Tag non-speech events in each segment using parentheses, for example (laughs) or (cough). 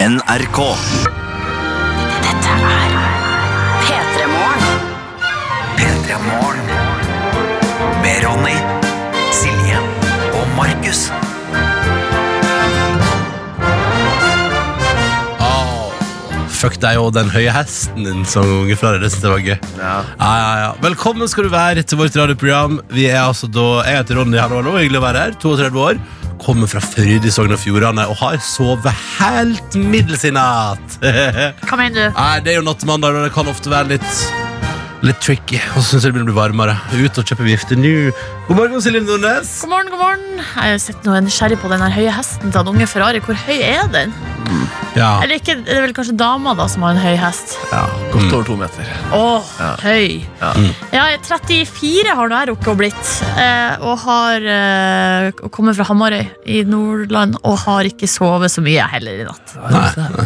NRK. Dette er P3 Morgen. P3 Morgen. Med Ronny, Silje og Markus. Fuck deg og den høye hesten din som unge fra det. Det synes jeg var gøy. Ja. Ja, ja, Velkommen skal du være til vårt radioprogram. Vi er altså da, Jeg heter Ronny Hallo, hallo. Hyggelig å være her. 32 år. Kommer fra Førde i Sogn og Fjordane og har sovet helt middels i natt. (laughs) Nei, Hva mener du? det er jo nattmandag, og det kan ofte være litt Litt tricky. Og så syns jeg det begynner å bli varmere. Ut og kjøpe vifte nå. God morgen, Silje Nordnes. God morgen, god morgen. Jeg har jo sett noe nysgjerrig på den her høye hesten til han unge Ferrari. Hvor høy er den? Ja, Eller ikke, det er vel kanskje dama da som har en høy hest? Ja, Godt over to meter. Åh, Ja. høy. Mm. Ja. Ja, jeg er 34 har nå jeg rukket å blitt. eh, Og har eh, kommet fra Hamarøy i Nordland og har ikke sovet så mye jeg heller i natt.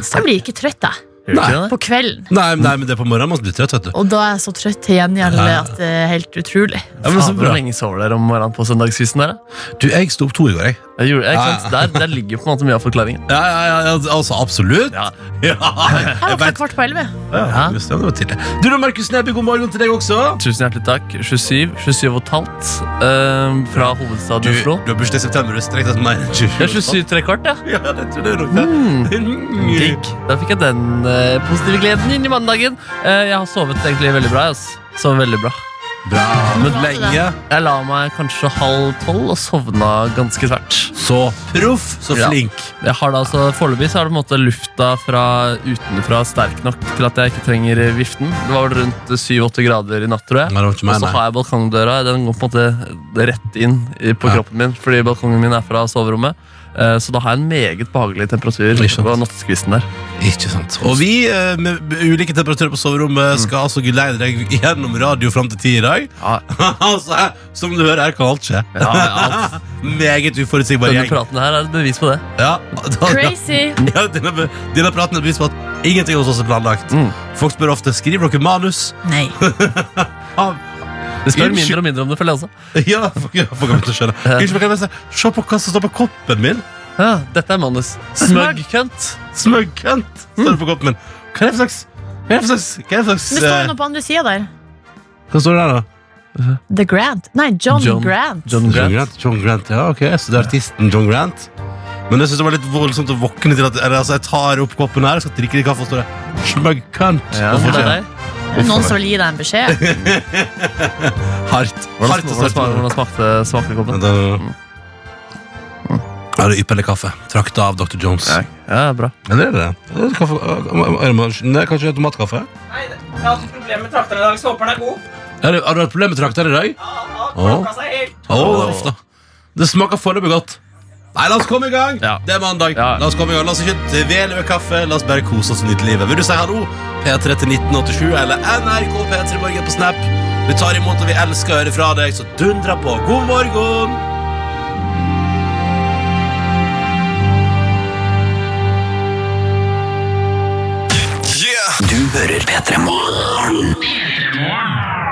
Så jeg blir ikke trøtt, jeg. Nei. På kvelden. Nei, nei, men det er på morgenen man blir trøtt, vet du. Og da er jeg så trøtt til gjengjeld Ja. at det er helt utrolig. Ja, men så Faen, bra. Hvor lenge sover dere om morgenen på søndagskvisten? Der, da? Du, jeg sto opp to i går, jeg. Jeg gjorde- jeg, Ja, ikke sant? der, der ligger på en måte mye av forklaringen. Ja, ja, ja, ja, altså, absolutt. Ja. (laughs) Ja, Jeg jeg våkna vet kvart på elleve. ja, just det, det var tidlig. Du da, Markus Neby, god morgen til deg også. Tusen hjertelig takk. 27, 27 og et halvt eh, fra hovedstaden Oslo. har bursdag i september, du strekker deg mer enn 27. Det er 27 trekvart, ja. (laughs) Ja, det tror jeg nok det. Mm. Digg. Da fikk jeg den eh, positive gleden inn i mandagen. Eh, jeg har sovet egentlig veldig bra. ass. Sovet veldig bra. Bra. Men Bra, det lenge, Jeg la meg kanskje halv tolv og sovna ganske tvert. så proff, så Ja. flink. Jeg har da altså, Foreløpig så er det på en måte lufta fra utenfra sterk nok til at jeg ikke trenger viften. Det var vel rundt 7-8 grader i natt, Nei, tror jeg. det var ikke Og meg, så nei. har jeg balkongdøra. Den går på en måte rett inn i- på Ja. kroppen min, fordi balkongen min er fra soverommet. Eh, Så da har jeg en meget behagelig temperatur Ikke sant. på nattskvisten der. Ikke sant. Og vi, eh, med ulike temperaturer på soverommet, skal altså geleide deg gjennom radio fram til ti i dag. Ja, (laughs) altså, som du hører, her kan alt skje. ja, ja. Meget uforutsigbar (laughs) Denne gjeng. praten her er et bevis på det. Ja, da- Crazy. (laughs) Ja, denne, denne praten er bevis på at ingenting hos oss er planlagt. Mm. Folk spør ofte skriver dere manus. Nei. Det spør Unnskyld. mindre og mindre om det, føler jeg også. (laughs) Ja, folk, ja, folk har begynt å skjønne. Unnskyld, men kan jeg bare si, Se på hva som står på koppen min! Ja, dette er manus. Smøgg. Smøggkønt. Smøggkønt! Står det på koppen min. Hva er det for slags Hva er det for slags, hva er det for slags Men det står jo eh, noe på andre sida der. Hva står det der, da? The Grant. Nei, John, John- Grant. John John Grant. Grant. John Grant, ja, ok, Så det er artisten John Grant. Men jeg synes det var litt voldsomt å våkne til at eller, altså, jeg tar opp koppen her og skal drikke litt kaffe, og står det smøggkønt. Ja, Og det får er se. deg. Det er Noen som vil gi deg (laughs) en beskjed. Hardt. Hvordan, Hardt å starte hvordan, med. smakte- hvordan smakte, smakte koppen? Vent, da. Ja, det er ypperlig kaffe. Trakta av Dr. Jones. Ja. Ja, bra. Eller er det det? Er det kaffe? Er det mas- øh, Nei, kanskje det er tomatkaffe? Nei, det- jeg har hatt problemer med trakteren i dag, så håper den er god. Er det, har du hatt problemer med trakteren i dag? Ja, ja, klokka seg helt. Å, det er ofte. Det smaker foreløpig godt. Nei, la oss komme i gang! Ja. Det er mandag. Ja. La oss komme i gang. La oss ikke dvele ved kaffe. La oss bare kose oss og nyte livet. Vil du si hallo? P3 til 1987 eller NRK P3 Morgen på Snap. Vi tar imot og vi elsker å høre fra deg, så dundra på. God morgen! Du hører P3 Morgen.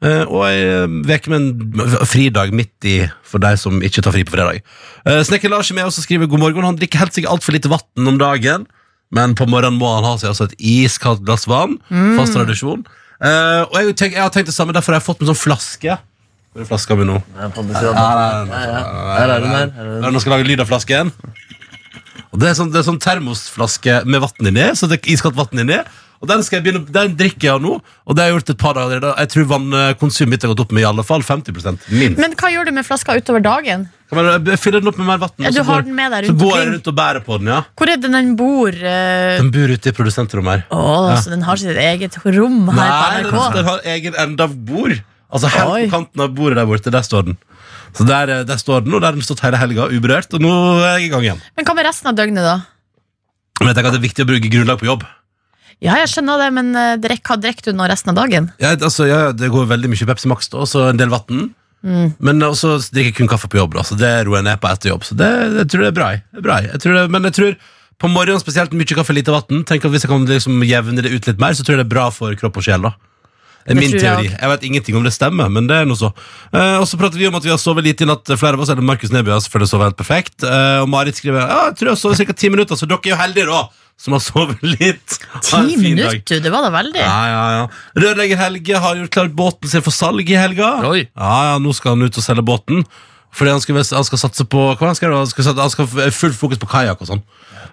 Eh, og ei uke med en fridag midt i for deg som ikke tar fri på fredag. Eh, Snekker Lars er med oss og skriver god morgen. Han drikker helt sikkert altfor lite vann om dagen, men på morgenen må han ha seg altså et iskaldt glass vann. Fast tradisjon. Eh, og jeg, tenk, jeg har tenkt det samme, derfor har jeg fått med sånn flaske. Hvor er flaska mi nå? Ja, på andre siden. Her er den her. her er den. Ja, Nå skal jeg lage lyd av flasken. Og det er sånn, det er sånn termosflaske med vann inni. Så det er iskaldt vann inni Og den, skal jeg begynne, den drikker jeg nå, og det har jeg gjort et par dager allerede. Jeg tror vannkonsumet mitt har gått opp med i alle fall 50 minst. Men hva gjør du med flaska utover dagen? Kan man- Jeg fyller den opp med mer vann, Ja, og du så har går, den med deg så rundt går jeg omkring. rundt og bærer på den. ja Hvor er den den bor? eh? Den bor ute i produsentrommet her. Å, så den har sitt eget rom her Nei, den, på NRK? den har egen ende av bord. Altså Helt Oi. på kanten av bordet der borte. Der står den. Så der, eh, der står den, og der har den stått hele helga uberørt. Og nå er jeg i gang igjen. Men hva med resten av døgnet, da? Men jeg tenker at det er viktig å bruke grunnlag på jobb. Ja, jeg skjønner det, men eh, drikk, hva drikker du nå resten av dagen? Ja, altså, ja, det går veldig mye Pepsi Max da, og så en del vann. Mm. Men også drikker jeg kun kaffe på jobb. Da, så det roer jeg ned på etter jobb. Så det, det tror jeg er bra. jeg. Det er bra jeg. Jeg tror det, men jeg tror på morgenen spesielt mye kaffe, lite vann. Tenk at Hvis jeg kan liksom jevne det ut litt mer, så tror jeg det er bra for kropp og sjel. da det er Det min tror jeg teori. Jeg, vet ingenting om det stemmer, men det er noe så. Eh, og så prater vi om at vi har sovet lite i natt. Flere av oss, eller Markus Neby, har selvfølgelig sovet helt perfekt. Eh, og Marit skriver ja, jeg tror jeg har sovet ca. ti minutter, så dere er jo heldige, da, som har sovet litt. Ha en Ti fin dag. minutter, det var da veldig. Ja, ja, ja. Rørlegger Helge har gjort klart båten sin for salg i helga. Oi. Ja, ja, nå skal han ut og selge båten. Fordi han skal, han skal satse på hva han skal, han skal, satse- han skal ha fullt fokus på kajak og sånn.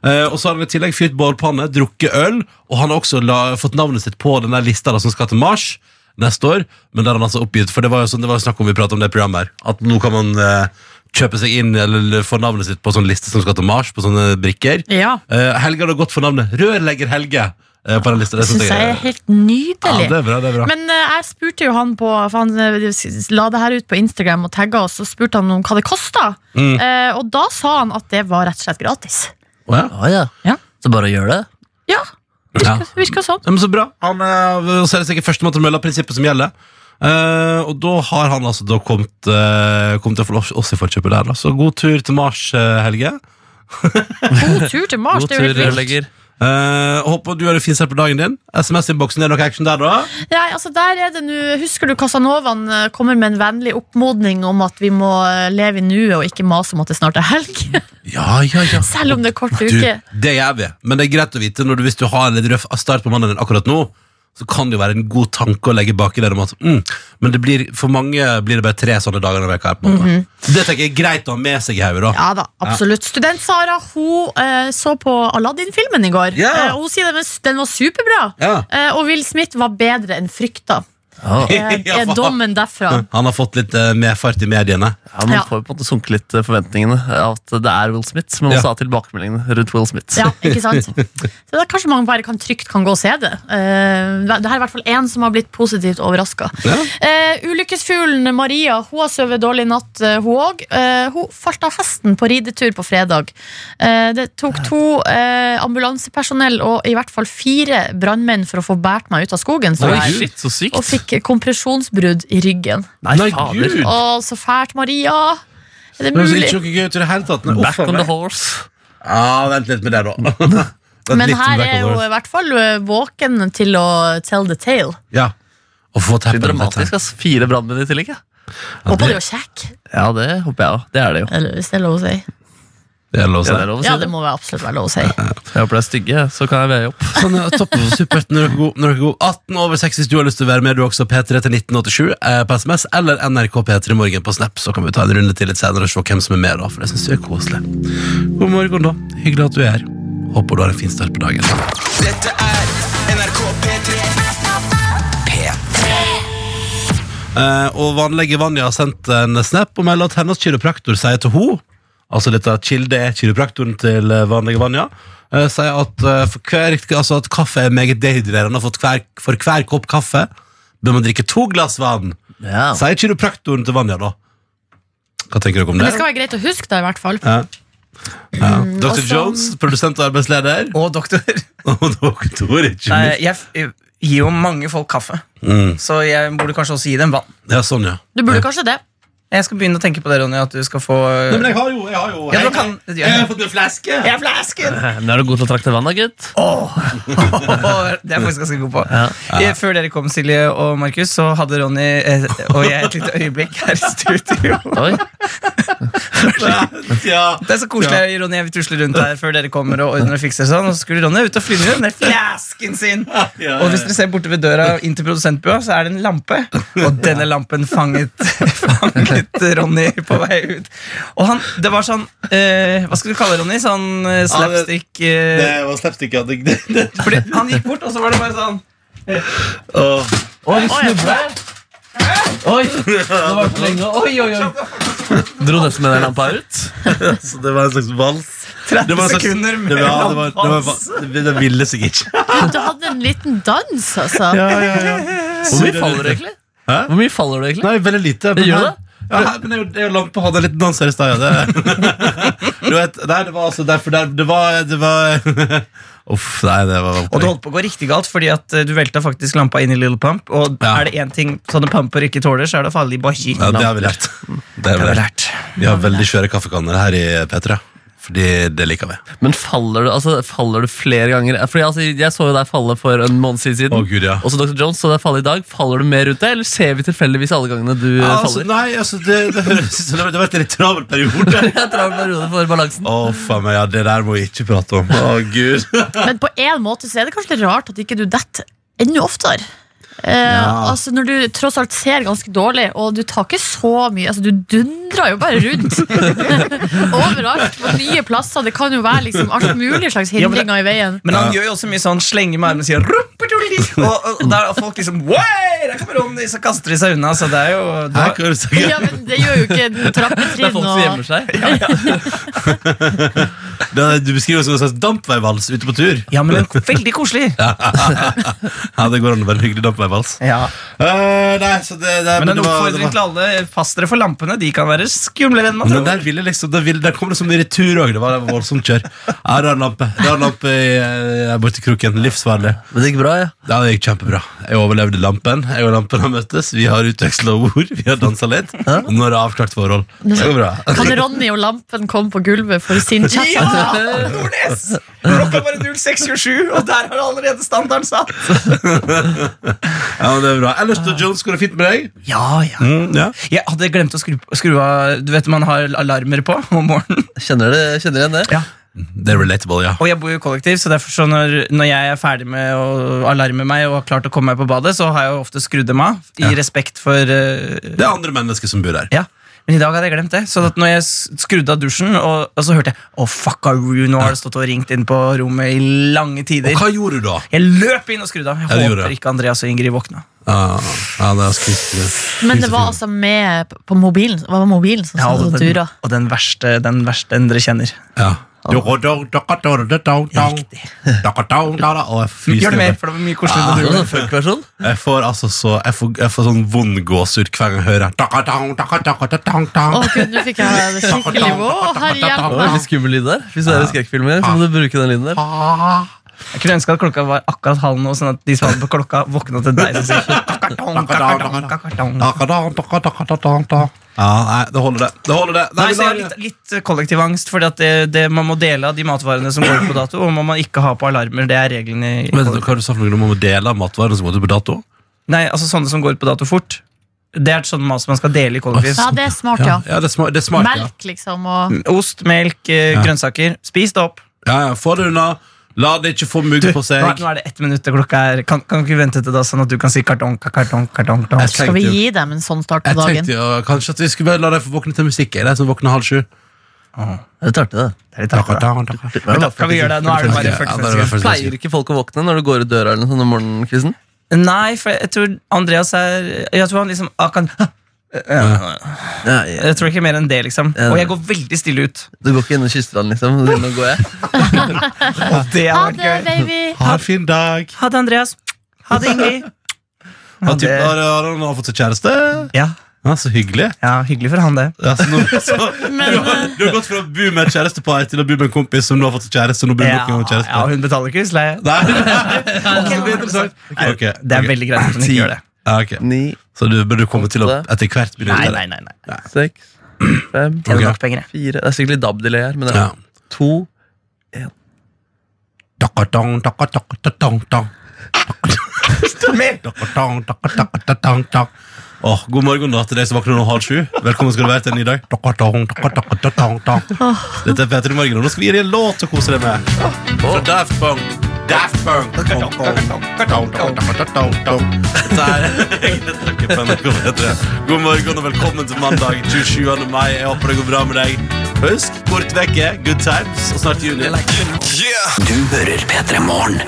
Eh, og så har han i tillegg fyrt bålpanne, drukket øl, og han har også la, fått navnet sitt på den der lista da, som skal til Mars neste år. Men der har han altså oppgitt, for det var jo sånn, det var jo snakk om vi pratet om det programmet her, at nå kan man eh, kjøpe seg inn eller få navnet sitt på sånn liste som skal til Mars, på sånne brikker. Ja, Eh, Helge har da gått for navnet Rørlegger Helge eh, på den lista. det synes syns jeg er helt ja, nydelig. det er bra, det er bra. Men eh, jeg spurte jo han på For han eh, s- la det her ut på Instagram og tagga oss, og spurte han om hva det kosta. Mm. Eh, og da sa han at det var rett og slett gratis. Å, ja. Ja, ja. Ja. Så bare gjør det. Ja, Ja. det virka sånn. Ja, men så bra. Han eh, så er det sikkert førstemann til mølla-prinsippet som gjelder. Eh, og da har han altså da kommet, eh, kommet til å få oss- oss i forkjøpet der. Da. Så god tur til Mars, eh, Helge. God tur til Mars. det er God jo tur, helt vilt. rørlegger. Eh, håper du har det fint selv på dagen din. SMS-innboksen er det noe action der, da. Nei, altså der er det nå Husker du Casanovaen eh, kommer med en vennlig oppmodning om at vi må eh, leve i nuet og ikke mase om at det snart er helg? (laughs) Ja, ja, ja. Selv om det er kort Du, uke. det gjør vi. Men det er greit å vite når du, hvis du har en litt røff start på mandagen din akkurat nå, så kan det jo være en god tanke å legge baki der om at mm, Men det blir, for mange blir det bare tre sånne dager i veka her. på en måte. Det tenker jeg er greit å ha med seg i hodet, da. Ja da, absolutt. Student Sara hun eh, så på Aladdin-filmen i går. Ja. Eh, og hun sier den var, den var superbra, Ja. eh, og Will Smith var bedre enn frykta. Eh, Ja, er faen. dommen derfra. Han har fått litt eh, mer fart i mediene. Ja, Man Ja. får jo på en måte sunket litt eh, forventningene av at det er Will Smith, men Ja. også av tilbakemeldingene rundt Will Smith. (laughs) Ja, ikke sant? Så det er kanskje man bare kan trygt kan gå og se det. Eh, det her er i hvert fall én som har blitt positivt overraska. Ja. ulykkesfuglen Maria hun har sovet dårlig i natt, eh, hun òg. hun falt av hesten på ridetur på fredag. Eh, det tok to eh, ambulansepersonell og i hvert fall fire brannmenn for å få båret meg ut av skogen. Så Oi, jeg- shit, så sykt! og fikk kompresjonsbrudd i ryggen. Nei, Nei, fader. Gud. Å, så fælt, Maria! Er det Det er altså, mulig? ikke noe gøy ut i det hele tatt. Nei, Back uff, on the nei. horse. Ja, vent litt med det, da. (laughs) Vent Men litt med her back er on the jo horse. i hvert fall eh, våken til å tell the tale. Ja. Og få Det teppet er dramatisk, ass. Fire brannmenn i tillegg. Ja. Håper det- du er kjekk, ja, det håper jeg òg. Det er det jo. eller hvis det er lov å si. Det er lov å si. Ja, det er lov å si Ja, det det. må være absolutt være lov å si. Jeg håper det er stygge, så kan jeg veie opp. Sånn, ja, topp supert når dere er gode. Når dere er gode. 18 over 6 hvis du har lyst til å være med, du også. P3 til 1987 eh, på SMS, eller NRK P3 Morgen på Snap. Så kan vi ta en runde til litt senere og se hvem som er med, da, for det syns jeg er koselig. God morgen, da. Hyggelig at du er her. Håper du har en fin start på dagen. Dette er NRK P3. P3. Eh, og vannlege Vanja har sendt en snap og melder at hennes kiropraktor sier til henne Altså litt av kilde er kiropraktoren til eh, vannlege Vanja. eh, sier at, eh, for hver, altså at kaffe er meget dehydrerende, for hver, for hver kopp kaffe bør man drikke to glass vann. Ja. Sier kiropraktoren til Vanja, da. Hva tenker dere om Men det? det skal være greit å huske det, i hvert fall. Ja. Ja. Dr. og så- Jones, produsent og arbeidsleder. Og doktor. (laughs) Og doktor, ikke Nei, minst. (laughs) jeg f- jeg gir jo mange folk kaffe, Mm. så jeg burde kanskje også gi dem vann. Ja, sånn, ja. Du burde kanskje det. Jeg skal begynne å tenke på det, Ronny, at du skal få Nei, men jeg har jo, jeg har jo Ja, du kan- jeg, jeg har fått en flaske! (laughs) Jeg er flasken! Nå er du god til å trakte vann, da, gutt. Det er jeg faktisk ganske god på. Eh, Før dere kom, Silje og Markus, så hadde Ronny eh, og jeg et lite øyeblikk her i studio. (laughs) Oi. (laughs) Ja. Det er så koselig, Ronny. Jeg vil tusle rundt her før dere kommer og ordner og fikser sånn. Og så skulle Ronny ut og flytte den der flasken sin. ja, Og hvis dere ser borte ved døra inn til produsentbua, så er det en lampe. Og denne lampen fanget, (laughs) fanget Ronny på vei ut. Og han, det var sånn eh, Hva skal du kalle det, Ronny? Sånn eh, slapstick eh, Det var slapstick, ja. Det, det, det. Fordi han gikk bort, og så var det bare sånn. Åh. Oi, snubla jeg. Oi, det var for lenge. Oi, oi, oi. Dro nesten med den lampa ut. Så det var en slags vals. 30 en slags- sekunder det med var, det var, det var, lampe. det det ville seg ikke. Du hadde en liten dans, altså. Hvor mye faller du egentlig? Hæ? Hvor mye faller du egentlig? Nei, veldig lite. Det gjør her- Ja, her- men det er jo- det er jo lampe hadde en liten dans (laughs) her i stad, ja. Det, du vet, nei, det var (laughs) altså derfor der, Det var, det var Uff, nei, det var Og det holdt på å gå riktig galt, fordi at eh, du velta faktisk lampa inn i Little Pump. Og Ja. er det én ting sånne pumper ikke tåler, så er det å falle i baji. ja, Det har vi lært. Det har vi lært. Vi har veldig skjøre kaffekanner her i P3, fordi det liker vi. Men faller du, altså, faller du flere ganger? Fordi, altså, jeg så jo deg falle for en måned siden. Å, Gud, ja. Også Dr. Jones så deg falle i dag. Faller du mer rundt deg, eller ser vi tilfeldigvis alle gangene du eh, Altså, faller? (laughs) nei, altså, det, det høres ut som det har vært en litt travel (laughs) periode. Jeg drar en periode for balansen. Å, faen meg, ja, det der må vi ikke prate om. Å, gud. Men på en måte så er det kanskje litt rart at ikke du detter enda oftere. Eh, Ja. Altså Når du tross alt ser ganske dårlig, og du tar ikke så mye Altså Du dundrer jo bare rundt. Overalt, på nye plasser. Det kan jo være liksom alt mulig slags Ja, men det- hindringer i veien. Men han gjør jo også mye sånn slenge med armen og sier «Rumpetulli!» Og, (laughs) og der er folk liksom «Wey, Der kommer Ronny! Så kaster de seg unna. Så det er jo det Hæ, var- hva er det så gøy? Ja, men Det gjør jo ikke Det er trappetrinn folk som og gjemmer seg. Det er- Du beskriver det som en slags dampveivals ute på tur. Ja, (laughs) men det er veldig koselig. Ja, det går an å være en hyggelig dampveivals. Ja. Eh, nei, så det, det, Men en det var- det oppfordring var- til alle. Pass dere for lampene. De kan være skumlere enn man Men der tror. ville liksom, der, ville, der kom det som i retur òg. Det var det var voldsomt kjør. Ja, rar lampe. Rar lampe i, eh, borti kroken. Livsfarlig. Men det gikk bra, ja. Ja, det gikk kjempebra. Jeg overlevde lampen. Jeg og lampen har møttes. Vi har utveksla ord. Vi har dansa litt. Og nå er det avklart forhold. Det går bra. Kan Ronny og lampen komme på gulvet for sin chat? Ja! Nordnes! Klokka bare 06.27, og der har allerede standarden satt. Ja, men det er bra. Ellers, da, Jones, går det fint med deg? Ja, ja. Mm, ja. Jeg hadde glemt å skru, skru av Du vet man har alarmer på om morgenen. Kjenner du kjenner igjen det? Det er relatable, ja. Og jeg bor jo i kollektiv, så derfor så når, når jeg er ferdig med å alarme meg og har klart å komme meg på badet, så har jeg jo ofte skrudd dem av. I respekt for eh, Det er andre mennesker som bor der. Ja. Men i dag hadde jeg glemt det. Så at når jeg s- skrudde av dusjen, og, og så hørte jeg Å, fuck you, nå har det stått og ringt inn på rommet i lange tider. Og hva gjorde du da? Jeg løp inn og skrudde av. Jeg Ja, du gjorde håper det. ikke Andreas og Ingrid våkna. Ja, ja, det er skummelt. Men det var altså med på mobilen. Det var mobilen som Ja, satt og og den, dura. og den verste den verste dere kjenner. Ja. Riktig. Gjør det mer, for det var mye koseligere. Det når var du gjorde sånn funkversjon. Jeg får altså så Jeg får, jeg får sånn vond gåsehud hver gang jeg hører Å gud, nå fikk jeg det skikkelig Å, herre Det hjelp var meg. veldig skummel lyd der. Hvis du er i skrekkfilmer, så må du bruke den lyden der. det. Jeg kunne ønske at klokka var akkurat halv nå, sånn at de som hadde på klokka, våkna til deg. som sier, «Kakadong, kakadong, kakadong». Ja, nei, det holder, det. Det holder det. Nei, så jeg har litt, litt kollektiv angst, fordi at det, det, man må dele av de matvarene som går ut på dato, og man må ikke ha på alarmer. Det er reglene. i- Vet du hva du sa for noe om å dele av matvarene som måtte på dato? Nei, altså sånne som går ut på dato fort. Det er sånn mat som man skal dele i kollektiv. Ja, det er smart, ja. Ja, ja det er smart. Det er smart ja. Melk, liksom, og Ost, melk, eh, Ja. grønnsaker. Spis det opp. Ja, ja, få det unna. La det ikke få mugg på Nå er, seg. nå er det ett minutt til klokka er Kan, kan du ikke vente til da, sånn at du kan si kartong, ka- kartong, kartong, kartong. Jeg Skal vi tenkte jo- gi dem en sånn start på Jeg dagen? tenkte jo kanskje at vi skulle bare la deg få våkne til musikk. Jeg er de som våkner halv sju. Det er litt artig, det. Det er litt hardt, da. Men da skal vi gjøre det. Nå er det bare Ja, da er 40 det bare 40 sekunder. Pleier ikke folk å våkne når du går ut døra eller noe sånt om morgenen? Kristen? Nei, for jeg tror Andreas er Jeg tror han liksom ah, kan, Ja, Jeg tror ikke mer enn det, liksom. Ja. Og jeg går veldig stille ut. Du går ikke innom Kystland, liksom? Du, Nå går jeg. Det Ha har vært det, gøy. baby! Ha en fin dag. Ha det, Andreas. Ha det, Ingrid. Har Ha det. typen- har- har han fått seg kjæreste? Ja, Ja, Så hyggelig. ja, hyggelig for han, det. Ja, så nå, så, du, har, du har gått fra å bo med et kjærestepar til å bo med en kompis som nå har fått kjæreste. og Nå bor du Ja, nok en gang med ja, kjæreste. hun betaler ikke husleie. Nei, det blir interessant. Nei, Ok, ok. Det er veldig greit at hun ikke gjør det. Ja, ok. Ni, Så du burde komme til å Åtte. etter hvert begynne å Nei, gjøre nei, det. nei, nei. seks, fem, Tjener Ok. nok penger, jeg. fire Det er sikkert litt dab-delay her, men det er Ja. to Takatong, takatong, takatong, takatong. Takatong, takatong, takatong, takatong. Åh, god morgen da til deg som våkner nå halv sju. Velkommen skal du være til en ny dag. Takatong, takatong, takatong, takatong. Dette er Peter i morgen, og nå skal vi gi deg en låt å kose deg med. Fra Daft Punk. Daft Punk. Dette er (laughs) egne takker på NRK P3. God morgen og velkommen til mandag 27. mai. Jeg håper det går bra med deg. Husk, kort vekke, good times, og snart juni. Du hører P3 Morgen.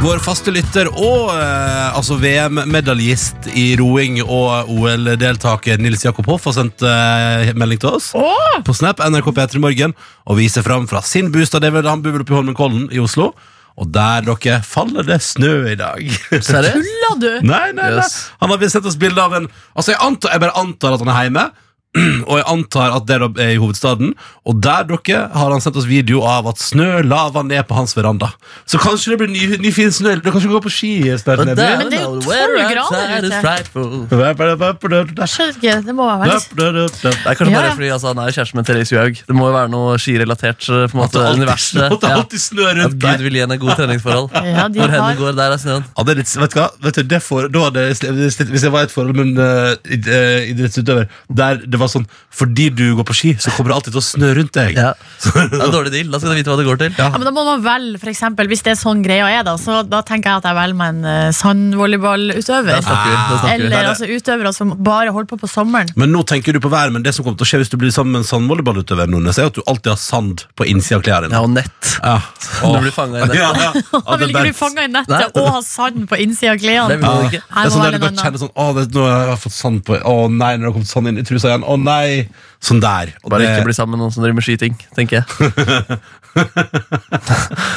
Vår faste lytter og eh, altså VM-medaljist i roing og OL-deltaker Nils Jakob Hoff har sendt eh, melding til oss på Snap NRK P3 Morgen og viser fram fra sin bostad. Det er vel- Han bor vel oppe i Holmenkollen i Oslo. Og der, dere, faller det snø i dag. Seriøst? Tulla du? nei, nei, nei. Yes. Han har sendt oss bilde av en Altså, jeg, antar, jeg bare antar at han er hjemme. (clears throat) og jeg antar at det da er i hovedstaden. Og der dere har han sendt oss video av at snø lava ned på hans veranda. Så kanskje det blir ny, ny fin snø. Du kan ikke gå på ski snart. Nebby. Men det er jo 12 grader ute. ute. Jeg skjønner ikke, det må være veldig Det er Ja, kanskje bare ja. fordi altså, han er jo kjæresten med Therese Johaug. Det må jo være noe skirelatert. eh, på en At det måte, alltid universet. snør, at det Ja. alltid snør At rundt Gud deg. vil gi henne gode treningsforhold. Ja, de Hvor hendene har går, der er snøen. Ja, det er litt, vet du hva? Vet du, det for, da hadde jeg sl- hvis det- hvis jeg var i et forhold med en eh, id- eh, idrettsutøver der det var sånn Fordi du går på ski, så kommer det alltid til å snø rundt deg. Ja. Det er en dårlig deal. Da skal du vite hva det går til. Ja, men da må man velge, for eksempel, hvis det er sånn greia er, da, så da tenker jeg at jeg velger meg en eh, Da sandvolleyballutøver. snakker vi. Da snakker vi. Eller altså utøvere som bare holder på på sommeren. Men nå tenker du på været, men det som kommer til å skje hvis du blir sammen med en sandvolleyballutøver, Nordnes, er at du alltid har sand på innsida av klærne Ja, dine. og nett. Ja. Du blir fanget i det. Ja, ja. (laughs) Da vil ikke der- du fange i Nei. nettet og ha sand på innsida av Det klærne. vil du ikke. Det Her er må sånn der du være en bare annen. kjenner sånn Å, det, nå har jeg fått sand på Å nei, når det har kommet sand inn i trusa igjen. Å nei! Sånn der. Og Bare ikke det, bli sammen med noen som driver med skyting, tenker jeg. (laughs)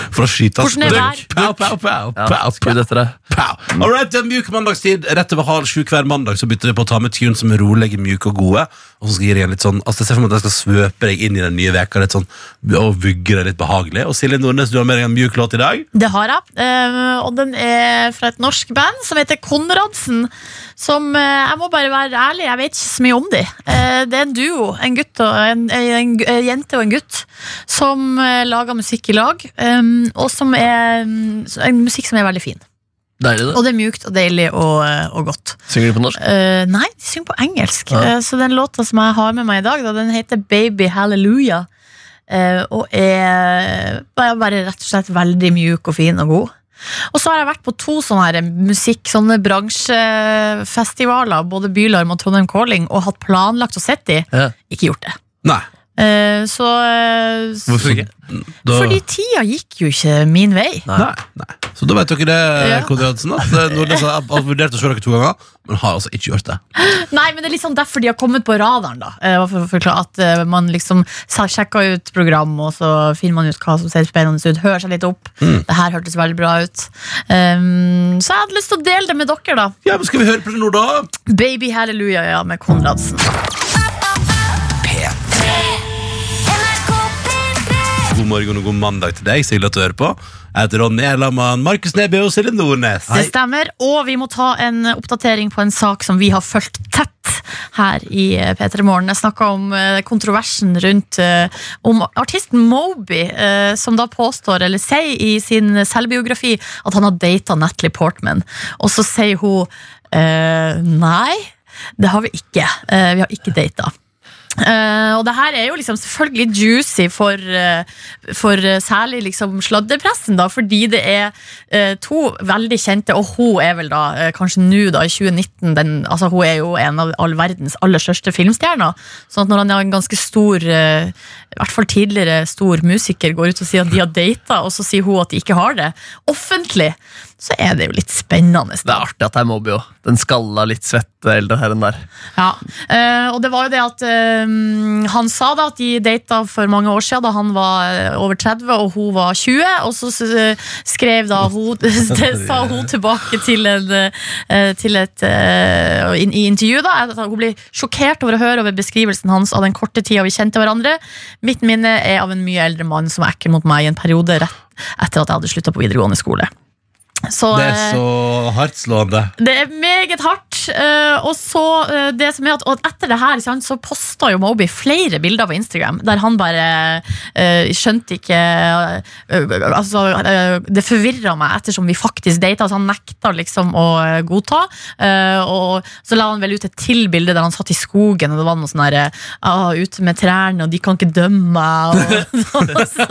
for å skyte Hvordan er vær? Pow, pow, pow, Ja, pow, pow. Skudd etter deg. Pow. All right, det er mjuk mandagstid. Rett over halv sju hver mandag så bytter vi på å ta med tunes som er rolige, mjuke og gode. Og så skal jeg gi deg en litt sånn Altså, Jeg ser for meg at jeg skal svøpe deg inn i den nye veka litt sånn og vugge deg litt behagelig. Og Silje Nordnes, du har med deg en mjuk låt i dag. Det har jeg. eh, og den er fra et norsk band som heter Konradsen. Som eh, Jeg må bare være ærlig, jeg vet ikke så mye om de. Eh, det er en duo, en, gutt og en, en, en jente og en gutt, som eh, lager musikk i lag. eh, og som er mm, en musikk som er veldig fin. Deilig, Og det. det er mjukt og deilig og, eh, og godt. Synger du på norsk? Eh, nei, de synger på engelsk. Ja. Eh, så den låta som jeg har med meg i dag, da, den heter Baby Hallelujah. eh, og er bare, bare rett og slett veldig mjuk og fin og god. Og så har jeg vært på to sånne her musikk, sånne bransjefestivaler, både Bylarm og Trondheim Calling, og hatt planlagt å sitte i. Ja. Ikke gjort det. Nei. Eh, så eh, s- Hvorfor ikke? Da, Fordi tida gikk jo ikke min vei. nei. nei. Så da vet dere det, Ja. Konradsen. At eh, Nordnes har har vurdert å se dere to ganger, men har altså ikke gjort det. Nei, men det er liksom derfor de har kommet på radaren da Eh, bare for å forklare At eh, man liksom sa- sjekker ut program Og så finner man ut hva som ser spennende ut Hører seg litt opp Det her hørtes veldig bra ut Ehm, Så jeg hadde lyst til å dele det med dere da Ja, men Skal vi høre på det nå, da? Baby Hallelujah ja, med Konradsen God morgen og god mandag til deg. Så hyggelig at du hører på. Jeg heter Ronny Erlamann, Markus Neby og Silje Nordnes. Det stemmer, og vi må ta en oppdatering på en sak som vi har følt tett her i eh, P3 Morgen. Jeg snakka om eh, kontroversen rundt eh, om artisten Moby, eh, som da påstår, eller sier i sin selvbiografi, at han har data Natalie Portman. Og så sier hun eh, nei, det har vi ikke. Eh, vi har ikke data. Eh, og det her er jo liksom selvfølgelig juicy for, eh, for eh, særlig liksom sladdepressen, da, fordi det er eh, to veldig kjente, og hun er vel da eh, kanskje nå da i 2019 den, altså Hun er jo en av all verdens aller største filmstjerner. Sånn at når han er en ganske stor, eh, i hvert fall tidligere stor musiker, går ut og sier at de har data, og så sier hun at de ikke har det, offentlig, så er det jo litt spennende. Det er artig at det er Moby òg. Den skalla, litt svette eldre herren der. Ja, eh, og det var jo det at eh, han sa da at de data for mange år siden da han var eh, over 30 og hun var 20, og så s- eh, skrev da hun, (laughs) det sa hun tilbake til, en, eh, til et eh, in, i intervju da, at hun ble sjokkert over å høre over beskrivelsen hans av den korte tiden vi kjente hverandre. Mitt minne er av en mye eldre mann som var ekkel mot meg i en periode rett etter at jeg hadde sluttet på videregående skole. Så, Det eh, er så hardtslående. det er meget hardt. eh, og så eh, det som er at og Etter det her sant, så posta jo Moby flere bilder på Instagram der han bare eh, skjønte ikke eh, Altså, eh, det forvirra meg ettersom vi faktisk data, så han nekta liksom å eh, godta. Eh, og så la han vel ut et til bilde der han satt i skogen, og det var noe sånn derre ah, Ute med trærne, og de kan ikke dømme meg. Og, (laughs) så,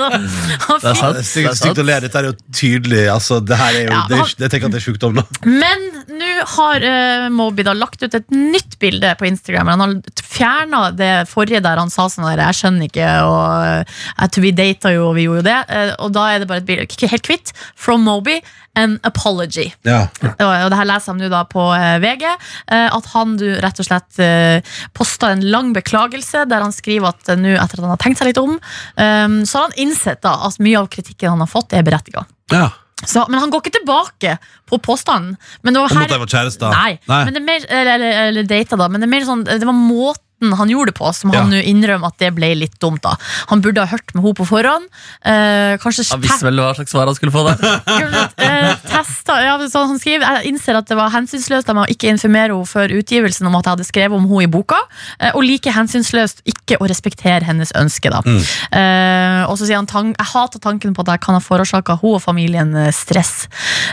han Mm. Det er Det er fikk sant. Det Stygt er stygt sant. å le. Dette er jo tydelig. Altså, det her er jo, Ja, det er, han- ikke- jeg tenker at det er sjukdom, da. Men nå har eh, Moby da lagt ut et nytt bilde på Instagram. Han har fjerna det forrige der han sa sånn der, 'jeg skjønner ikke', og eh, at 'vi data jo, og vi gjorde jo det'. Eh, og da er det bare et bilde, ikke helt kvitt, from Moby, an apology. Ja. Og, og det her leser han nå da på eh, VG, eh, at han du rett og slett eh, posta en lang beklagelse der han skriver at eh, nå, etter at han har tenkt seg litt om, eh, så har han innsett da at mye av kritikken han har fått, er berettiga. ja. Så, men han går ikke tilbake på påstanden. Men det var Om her, at de var kjærester. Nei, Men det er mer, eller, eller, eller data da Men det er mer sånn, det var måten måten han gjorde det på, som han Ja. nå innrømmer at det ble litt dumt. da Han burde ha hørt med henne på forhånd. Eh, kanskje Han visste vel hva slags svar han skulle få. (laughs) da Eh, testa, ja, sånn han skriver Jeg innser at det var hensynsløst av meg å ikke informere henne før utgivelsen om at jeg hadde skrevet om henne i boka, eh, og like hensynsløst ikke å respektere hennes ønske. Da. Mm. Eh, og så sier han tan- jeg hater tanken på at jeg kan ha forårsaka hun og familien eh, stress.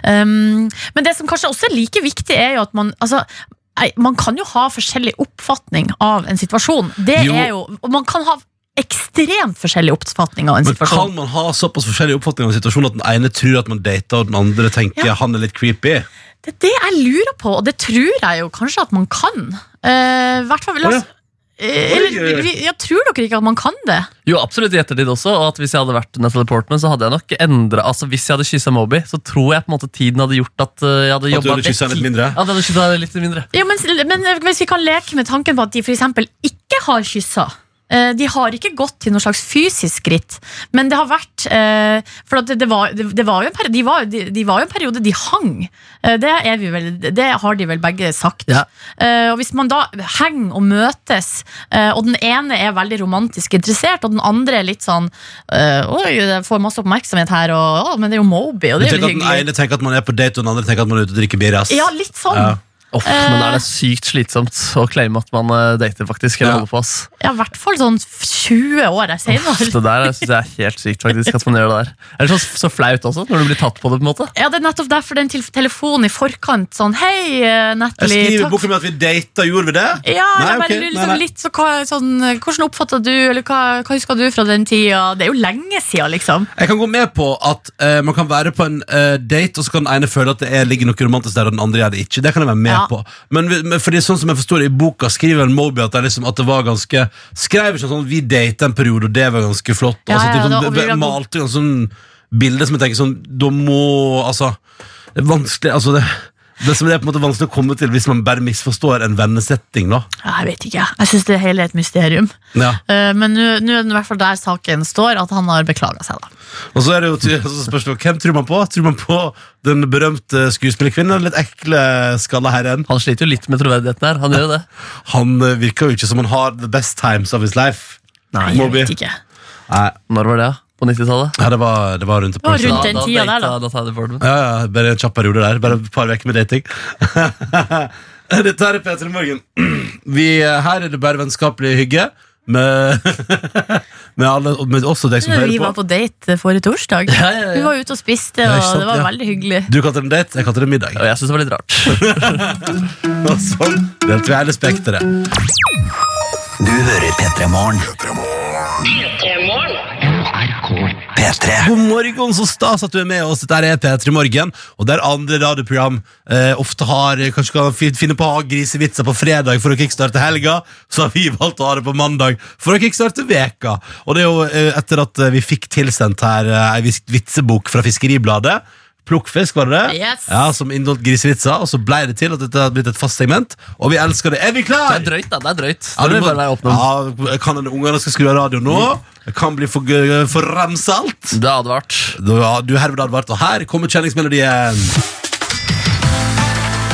Um, men det som kanskje også er like viktig, er jo at man altså, nei, man kan jo ha forskjellig oppfatning av en situasjon. Det Jo. er jo, og man kan ha ekstremt forskjellig oppfatning av en Men kan situasjon. man ha såpass forskjellig oppfatning av en situasjon at den ene tror at man dater, og den andre tenker han er litt creepy? Det er det jeg lurer på, og det tror jeg jo kanskje at man kan. Eh, hvert fall, la oss... Eh, Eller, vi- vi- ja, tror dere ikke at man kan det? Jo, absolutt i ettertid også. Og at hvis jeg hadde vært Natalie Portman, så hadde jeg nok endret, altså Hvis jeg hadde kyssa Moby, så tror jeg på en måte tiden hadde gjort at uh, jeg hadde At du jobba hadde kyssa litt mindre? Ja, det hadde kysset henne litt mindre. Ja, men, men eh, hvis vi kan leke med tanken på at de for eksempel ikke har kyssa eh, de har ikke gått til noe slags fysisk skritt, men det har vært eh, For at det, det var, det, det var jo en periode, de, var, de, de var jo en periode de hang. Eh, Det, er vi vel, det har de vel begge sagt. Ja. Eh, og Hvis man da henger og møtes, eh, og den ene er veldig romantisk interessert, og den andre er litt sånn eh, Oi, jeg får masse oppmerksomhet her, og, å, men det er jo Moby, og Du det tenker er jo at Den hyggelig. ene tenker at man er på date, og den andre tenker at man er ute og drikker birras. Ja, litt sånn. Ja. Uff, men er det sykt slitsomt å claime at man uh, dater, faktisk? Ja. Eller holder på ass. Ja, i hvert fall sånn 20 år jeg Uff, senere. Det der synes jeg er helt sykt, faktisk. At man gjør det der Er det så, så flaut også, når du blir tatt på det? på en måte Ja, det er nettopp derfor den til- telefonen i forkant sånn Hei, eh, Jeg Natalie. skriver i Takk. boken min at vi data, gjorde vi det? Ja, Nei, jeg bare ok, lurer nei, liksom nei. litt så hva, sånn, eh, Hvordan oppfatta du, eller hva, hva husker du fra den tida? Det er jo lenge sida, liksom. Jeg kan gå med på at eh, man kan være på en eh, date, og så kan den ene føle at det er, ligger noe romantisk der, og den andre gjør det ikke. Det kan jeg være med Ja. på. Men, vi- men fordi sånn som jeg forstår det, i boka skriver en Moby at det, er liksom, at det var ganske Skrev ikke sånn 'vi date en periode, og det var ganske flott'. Ja, altså, ja, typ sånn, det var- be- be- malte ganske sånn bilde som jeg tenker sånn Da må Altså, det er vanskelig altså, det, det som det er på en måte vanskelig å komme til hvis man bare misforstår en vennesetting, da. Ja, Jeg vet ikke. jeg. Jeg syns det hele er et mysterium. Ja. Eh, Men nå nå er det i hvert fall der saken står, at han har beklaga seg, da. Og så er det jo ty- så spørs det jo, Hvem tror man på? Tror man på den berømte skuespillerkvinnen eller den litt ekle skalla herren? Han sliter jo litt med troverdigheten her. Han gjør jo det Han eh, virker jo ikke som han har the best times of his life. Nei, jeg Moby. vet ikke. Nei, Når var det? da? På 90-tallet? ja, det, var, det var rundt et var par rundt Da- den da tida der, data- da. data Natalie Portman. Ja, ja, bare en kjapp periode der. Bare et par uker med dating. (laughs) Dette her er P3 Morgen. (clears throat) Vi, eh, her er det bare vennskapelig hygge. Med, (laughs) med, alle, og med også deg som Vi hører var på. på date forrige torsdag. Ja, ja, ja. Vi var ute og spiste, Ja, ikke og sant, det var ja. veldig hyggelig. Du kalte det en date, jeg kalte det middag. Og jeg syns det var litt rart. Og (laughs) sånn delte vi hele spekteret. Du hører P3 Morgen. P3 God morgen, så stas at du er med oss. Dette er P3 Morgen, og der andre radioprogram eh, ofte har kanskje kan fin- finne på å ha grisevitser på fredag for å kickstarte helga, så har vi valgt å ha det på mandag for å kickstarte veka. Og det er jo eh, etter at eh, vi fikk tilsendt her eh, ei vis- vitsebok fra Fiskeribladet. Plukkfisk, var det det? Yes. Ja, Som inneholdt grisevitser, og så ble det til at dette har blitt et fast segment, og vi elsker det. Er vi Det klar? er drøyt, da. det er drøyt Ja, Det du vil må- bare være åpen Mm. om. ja, kan hende ungene skal skru av radioen nå. Det kan bli for, g- for ramsalt. Det er advart. Du, ja, du er herved advart, og her kommer kjenningsmelodien.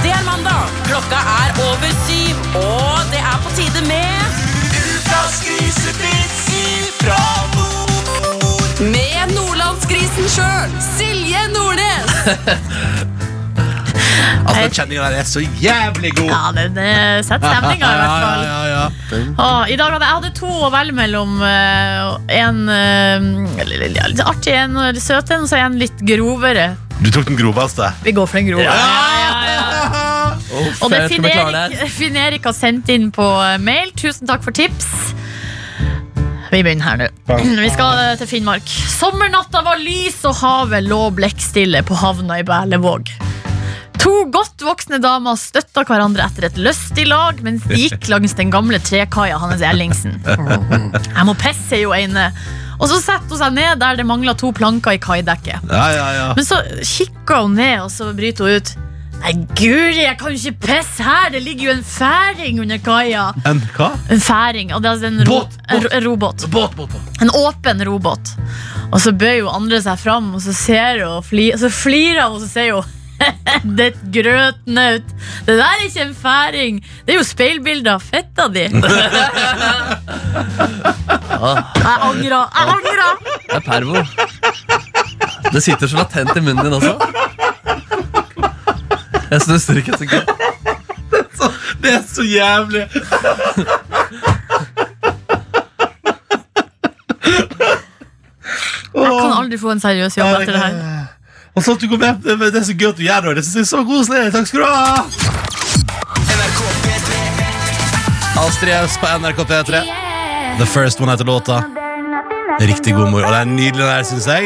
Det er mandag. Klokka er over syv, og det er på tide med Ukas grisepils fra nord. Med nordlandsgrisen sjøl, Silje Nordnes. Altså, den kjenninga der er så jævlig god! Ja, den eh, setter stemninga, i hvert fall. Ja, ja, ja, Åh, I dag hadde jeg hadde to å velge mellom. eh, og en eh, ja, litt artig en og litt søt en, og så en litt grovere. ja. Du tok den groveste. Vi går for den grove. Og det er jeg skal Finn beklage Erik, det Finn Erik har sendt inn på eh, mail. Tusen takk for tips. Vi begynner her nå. (clears throat) Vi skal eh, til Finnmark. Sommernatta var lys, og havet lå blekkstille på havna i Berlevåg. To godt voksne damer støtta hverandre etter et lystig lag mens de gikk langs den gamle trekaia Hannes Ellingsen. Jeg må pisse, sier jo ene. Og så setter hun seg ned der det mangla to planker i kaidekket. Ja, ja, ja. Men så kikker hun ned, og så bryter hun ut. Nei, guri, jeg kan jo ikke pisse her! Det ligger jo en færing under kaia. En hva? En færing. Og det er altså en, ro Båt, båt. en, ro- en robåt. Båt, båt, båt. En åpen robåt. Og så bøyer jo andre seg fram, og så ser hun, (laughs) og fli, og så flirer hun, og så sier hun Det er et grøtnaut. Det der er ikke en færing. Det er jo speilbilder av fetta (laughs) di. Jeg angrer. Jeg angrer. Det er pervo. Det sitter så latent i munnen din også. Jeg stusser ikke et sekund. Det er så jævlig! Jeg kan aldri få en seriøs jobb etter det her. Eh, Og så at du går med, det det er så gøy at du gjør det. Det synes jeg er så koselig. Takk skal du ha! Astrid S på NRK P3. The First One heter låta. Riktig god mor. Og det er nydelig den her, synes jeg.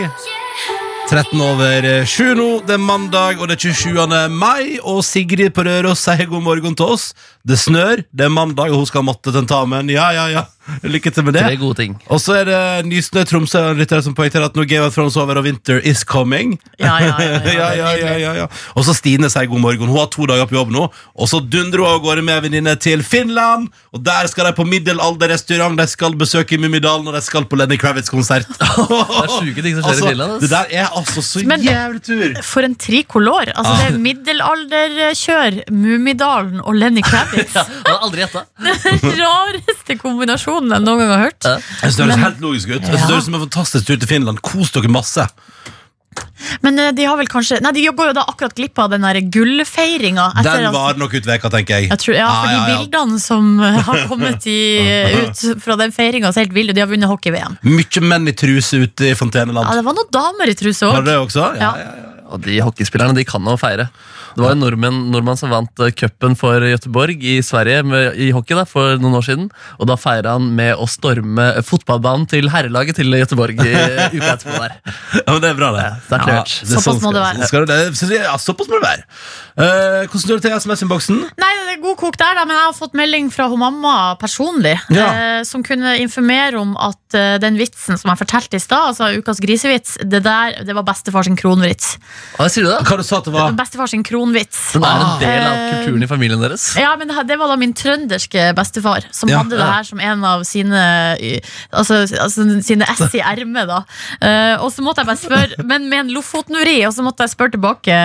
13 over 7 nå, det er mandag, og det er 27. mai. Og Sigrid på Røros sier god morgen til oss. Det snør, det er mandag, og hun skal ha mattetentamen. Ja, ja, ja. Lykke til med det. Tre gode ting. Og så er det Nysnø i Tromsø og en lytter som poengterer at nå Game of Thrones over og winter is coming. Ja, ja, ja, ja. ja, ja, ja, ja, ja. Og så Stine sier god morgen. Hun har to dager på jobb nå. Og så dundrer hun av gårde med en venninne til Finland. Og der skal de på middelalderrestaurant, de skal besøke Mummidalen, og de skal på Lenny Kravitz-konsert. (laughs) Det er sjuke ting som skjer Altså, i Finland. ass. det der er altså så Men- jævlig tur. For en trikolor. Altså, det Ah. er middelalderkjør, Mummidalen og Lenny (laughs) Kravitz. Jeg hadde aldri gjetta. Den rareste kombinasjonen jeg noen gang har hørt. Jeg synes Det høres helt logisk ut. Jeg synes Det høres ut som en fantastisk tur til Finland. Kos dere masse. Men eh, de har vel kanskje Nei, de går jo da akkurat glipp av den der gullfeiringa. etter Den at- var nok ut veka, tenker jeg. Jeg tror, ja, Ja, ja, for de ja. bildene som eh, har kommet i, (laughs) ut fra den feiringa, er helt ville. De har vunnet hockey-VM. Mye menn i truse ute i Ja, Fonteneland. det var noen damer i truse Var òg. det det også? Ja. Og de hockeyspillerne de kan å feire. Det var en nordmann, nordmann som vant eh, cupen for Göteborg i Sverige med, i hockey da, for noen år siden. Og da feira han med å storme eh, fotballbanen til herrelaget til Göteborg i eh, uka etterpå der. Ja, men det er bra, det. det er klart. det er Såpass må skal- det være. sånn Skal det, det, synes jeg, ja, såpass må det være. Eh, hvordan står det til i SMS-innboksen? Nei, det er god kok der, da, men jeg har fått melding fra hun mamma personlig, Ja. eh, som kunne informere om at eh, den vitsen som jeg fortalte i stad, altså ukas grisevits, det der det var bestefar sin kronvits. Hva sier du da? Hva du sa det var? Bestefar sin kronvits. Den er en del av Ah. kulturen i familien deres. Ja, men det her- det var da min trønderske bestefar som Ja, hadde det her som en av sine y- Altså, altså sine ess i ermet, da. Eh, og så måtte jeg bare spørre, men med en Lofoten-uri, og så måtte jeg spørre tilbake,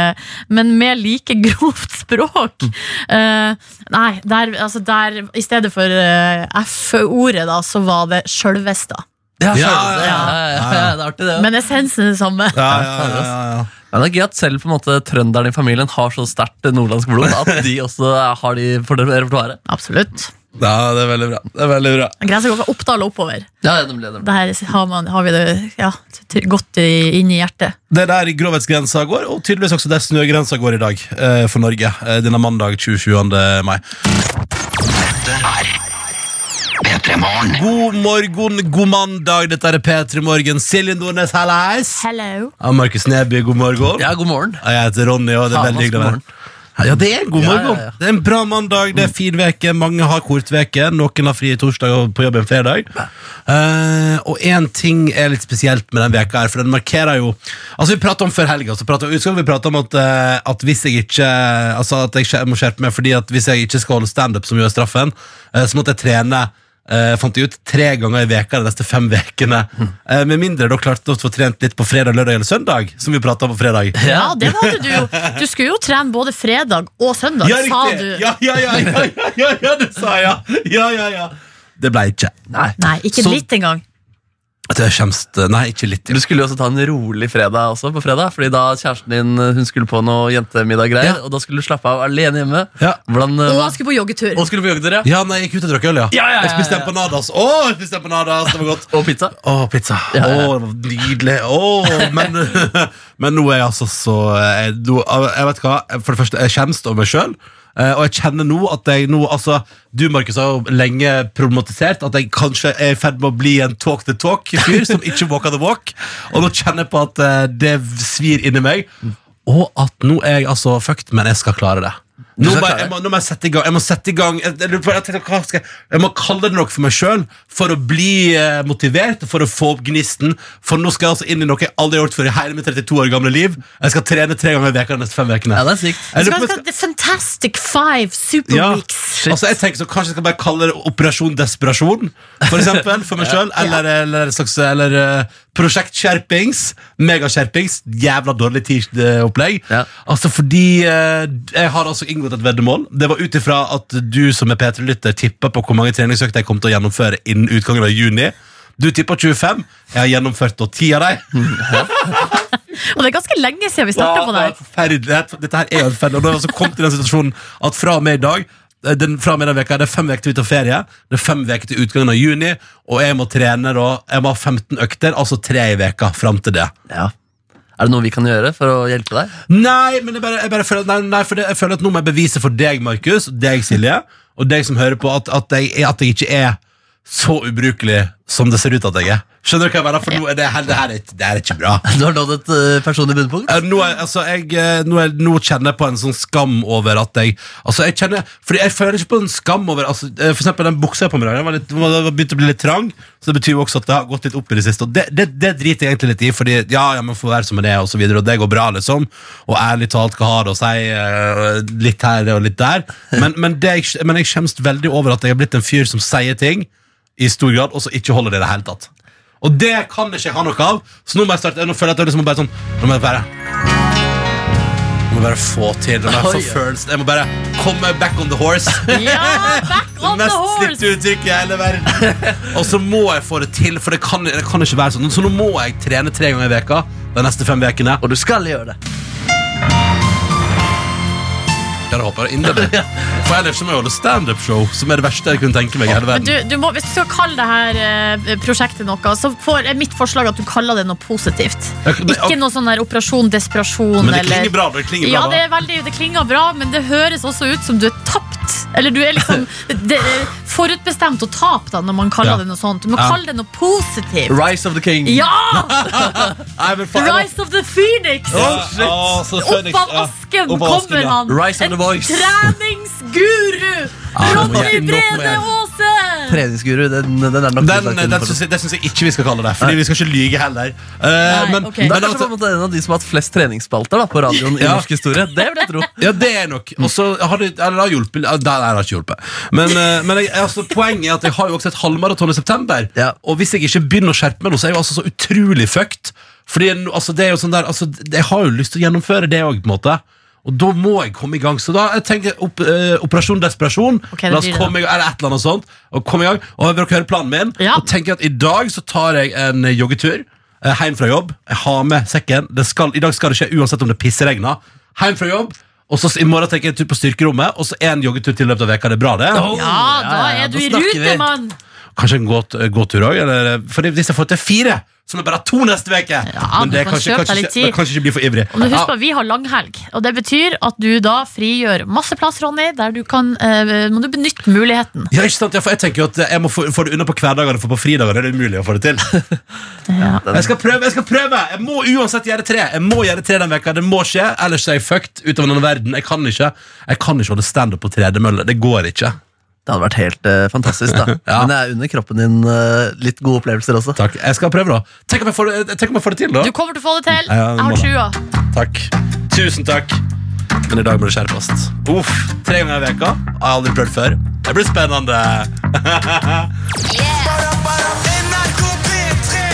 men med like grovt språk. Eh, nei, der, altså der I stedet for eh, F-ordet, da, så var det sjølvest, da. Ja, ja, ja. Det er artig, det. Men essensen er det samme. Ja, ja, ja, ja, ja. Ja, det er gøy at selv på en måte trønderen i familien har så sterkt eh, nordlandsk blod at de også eh, har de for det repertoaret. Absolutt. ja, det er veldig bra. Det er veldig bra. Grensa går fra Oppdal og oppover. Ja, ja, nemlig, nemlig. Det her har, man, har vi det ja, t- godt i, inn i hjertet. Det er der grovhetsgrensa går, og tydeligvis også der snøgrensa går i dag eh, for Norge. eh, denne mandag 27. mai. P3 Morgen. God morgen, god mandag. Dette er P3 Morgen. Silje Nordnes, hallais. Hello. Ja, Markus Neby, god morgen. Ja, god morgen. Ja, Jeg heter Ronny, og det er Faen, veldig ass, hyggelig god å være morgen. her. Ja, det er en god Ja, morgen. ja, ja. Det er en bra mandag, det er fin veke, mange har kort veke, noen har fri torsdag og på jobb en fredag. Eh, og en ting er litt spesielt med den veka her, for den markerer jo Altså, vi pratet om før helga, så pratet, husker vi pratet om at, eh, at hvis jeg ikke Altså, at jeg skjer- må skjerpe meg, fordi at hvis jeg ikke skal holde standup som gjør straffen, eh, så måtte jeg trene eh, fant jeg ut tre ganger i veka de neste fem vekene. Eh, med mindre da klarte jeg å få trent litt på fredag, lørdag eller søndag, som vi pratet om på fredag. Ja, det hadde du jo. Du skulle jo trene både fredag og søndag, Ja, sa riktig! du. Ja, ja, ja, ja, ja, ja, ja, det sa jeg! Ja, ja, ja. Det ble ikke. Nei. Nei, ikke Så- litt engang. Det kjemst, nei, ikke litt. Du skulle jo også ta en rolig fredag også, på fredag, fordi da kjæresten din hun skulle på noe jentemiddagggreier, Ja. og da skulle du slappe av alene hjemme. Ja. Hvordan, Og eh, hva- han skulle på joggetur. og skulle på joggetur, ja. Ja, nei, jeg gikk ut og drakk øl, ja. Ja, ja, ja, Jeg spiste ja, ja. empanadas. Å, jeg spiste empanadas, det var godt. Og pizza. Å, pizza. Å, Ja, ja, ja. det var nydelig. Å, men, (laughs) men nå er jeg altså så jeg, nå- eh, jeg vet hva, for det første, jeg kjennes over meg sjøl. Og jeg kjenner nå at jeg nå altså, Du Markus, har jo lenge problematisert at jeg kanskje er i ferd med å bli en talk the talk-fyr som ikke walk the walk. Og nå kjenner jeg på at eh, det svir inni meg. Og at nå er jeg altså fucked, men jeg skal klare det. Nå skal bare, klare jeg, må, nå må jeg sette i gang. Jeg må sette i gang Jeg, jeg, lurer på- jeg, tenkte, hva skal jeg, jeg må kalle det noe for meg sjøl for å bli eh, motivert, for å få opp gnisten. For nå skal jeg altså inn i noe jeg aldri har gjort før i hele mitt 32 år gamle liv. Jeg skal trene tre ganger i veka de neste fem ukene. Ja, det er sykt. Jeg Skal, lurer på- skal, The Fantastic Five Super ja. Weeks. altså, jeg tenker så Kanskje jeg skal bare kalle det Operasjon Desperasjon, for eksempel, for meg sjøl. Eller, eller, et slags- eller eh, Prosjekt Skjerpings. Megaskjerpings. Jævla dårlig tirsdagsopplegg. Ja. Altså, fordi eh, jeg har altså inngått et veddemål. Det var ut ifra at du som er P3-lytter, tippa på hvor mange treningsøkter jeg kom til å gjennomføre innen utgangen av juni. Du tippa 25. Jeg har gjennomført da 10 av dem. Og det er ganske lenge siden vi starta på det. her. Forferdelig. Dette- Dette her er jo forferdelig. Og da har vi altså kommet i den situasjonen at fra og med i dag eh, den, fra og med den veka, Det er fem uker til vi tar ferie, det er fem uker til utgangen av juni, og jeg må trene da, jeg må ha 15 økter, altså tre i veka fram til det. Ja. Er det noe vi kan gjøre for å hjelpe deg? Nei, men jeg, bare, jeg, bare føler, at- nei, nei, for det, jeg føler at nå må jeg bevise for deg, Markus, og deg, Silje, og deg som hører på, at, at, jeg, er- at jeg ikke er så ubrukelig som det ser ut at jeg er. Skjønner du hva jeg mener? For nå er det, her, det, her er, ikke- det her er ikke bra. (laughs) Du har nådd et eh, personlig bunnpunkt. Eh, Nå, er, altså, jeg, eh, nå, er, nå kjenner jeg på en sånn skam over at jeg Altså, jeg kjenner Fordi jeg føler ikke på en skam over altså, eh, For eksempel den buksa jeg på meg i dag, den var litt- den var- den begynte å bli litt trang. Så det betyr jo også at det har gått litt opp i det siste. Og det, det, det driter jeg egentlig litt i, fordi ja, ja, man får være som man er, og så videre, og det går bra, liksom. Og ærlig talt, hva har det å si? eh, Litt her og litt der. Men, men, det, jeg- men jeg skjemmes veldig over at jeg har blitt en fyr som sier ting i stor grad, og så ikke holder det i det hele tatt. Og det kan ikke jeg ha noe av, så nå må jeg starte Nå føler jeg at jeg liksom bare sånn Nå må jeg bare Nå må jeg bare få til det. Nå må Jeg, få Oi. følelsen. jeg må bare komme back on the (laughs) horse. Ja, (laughs) back on the Mest horse! slitte uttrykk i hele verden. Og så må jeg få det til, for det kan, det kan ikke være sånn. Så nå må jeg trene tre ganger i veka de neste fem ukene. Og du skal gjøre det. Ja, det håper jeg inderlig. (laughs) For ellers så må jeg holde standup-show, som er det verste jeg kunne tenke meg i hele Men verden. du, du må, hvis du skal kalle det her eh, prosjektet noe, så får, er mitt forslag at du kaller det noe positivt. Ikke noe sånn der operasjon desperasjon. Men det eller- klinger bra. Det klinger bra Ja, da. det, er veldig, det klinger bra, men det høres også ut som du er tapt. Eller du er (laughs) liksom det er forutbestemt å tape da, når man kaller Ja. det noe sånt. Du må Ja. kalle det noe positivt. Rise of the king. Ja! (laughs) Nei, men faen, jeg må- Rise of the Phoenix! Ja, å, så Phoenix, Opp av ja. asken Opp av asken, kommer ja. han! Rise of En the voice. treningsguru! Ja, det må Ronny jeg- nok med. Brede Aase! Treningsguru, den, den er nok Den, utlagt den, innenfor. syns jeg, det syns jeg ikke vi skal kalle det, Fordi vi skal ikke lyge heller. Eh, men, ok. Det men er kanskje på altså, en måte en av de som har hatt flest treningsspalter da, på radioen i Ja. norsk historie. (laughs) Det vil jeg tro. ja, det er nok. Og så har det, eller, det har hjulpet Nei, det har ikke hjulpet. Men, eh, men jeg, altså, poenget er at jeg har jo også et halvmaraton i september. Ja. Og hvis jeg ikke begynner å skjerpe meg nå, så er jeg jo altså så utrolig fucked. Fordi jeg- altså, det er jo sånn der altså, Jeg har jo lyst til å gjennomføre det òg, på en måte. Og da må jeg komme i gang. Så da jeg tenker opp, eh, Operasjon Desperasjon. Ok, det La oss blir det, komme i gang, eller et eller annet sånt. Og komme i gang. Og dere hører planen min. Ja. Og tenker at i dag så tar jeg en joggetur eh, hjem fra jobb. Jeg har med sekken. Det skal, I dag skal det skje uansett om det pisseregner. Hjem fra jobb. Og så s- I morgen tenker jeg en tur på styrkerommet, og så en joggetur til i løpet av veka. Det er bra, det. Oh, Ja, da ja, er du da i snakker rute, vi. mann! Kanskje en gåt- eh, gåtur òg. For hvis jeg får til fire, så må jeg bare ha to neste uke. Ja, Men det du er kan kanskje, kjøpe deg kanskje, litt ikke- det er tid. kanskje ikke bli for ivrig. Og du Ja. husker at Vi har langhelg, og det betyr at du da frigjør masse plass, Ronny. Der du kan, eh, må du benytte muligheten. Ja, ikke sant? Ja, for jeg tenker jo at jeg må få, få det unna på hverdagene, for på fridagene er det umulig å få det til. Jeg skal prøve! Jeg skal prøve Jeg må uansett gjøre tre Jeg må gjøre tre den veka, det må skje. Ellers er jeg fucked utover denne verden. Jeg kan ikke Jeg kan ikke holde standup på tredemølle. Det går ikke. Det hadde vært helt eh, fantastisk. (laughs) da Ja. Men det er under kroppen din eh, litt gode opplevelser også. Takk. Jeg skal prøve, da. Tenk om jeg får det, tenk om jeg får det til, da. Du kommer til å få det til. Ja, Jeg det må har det. trua. Takk. Tusen takk. Men i dag må det skjerpes. Uff. Tre ganger i veka Jeg har aldri prøvd før. Det blir spennende. (laughs)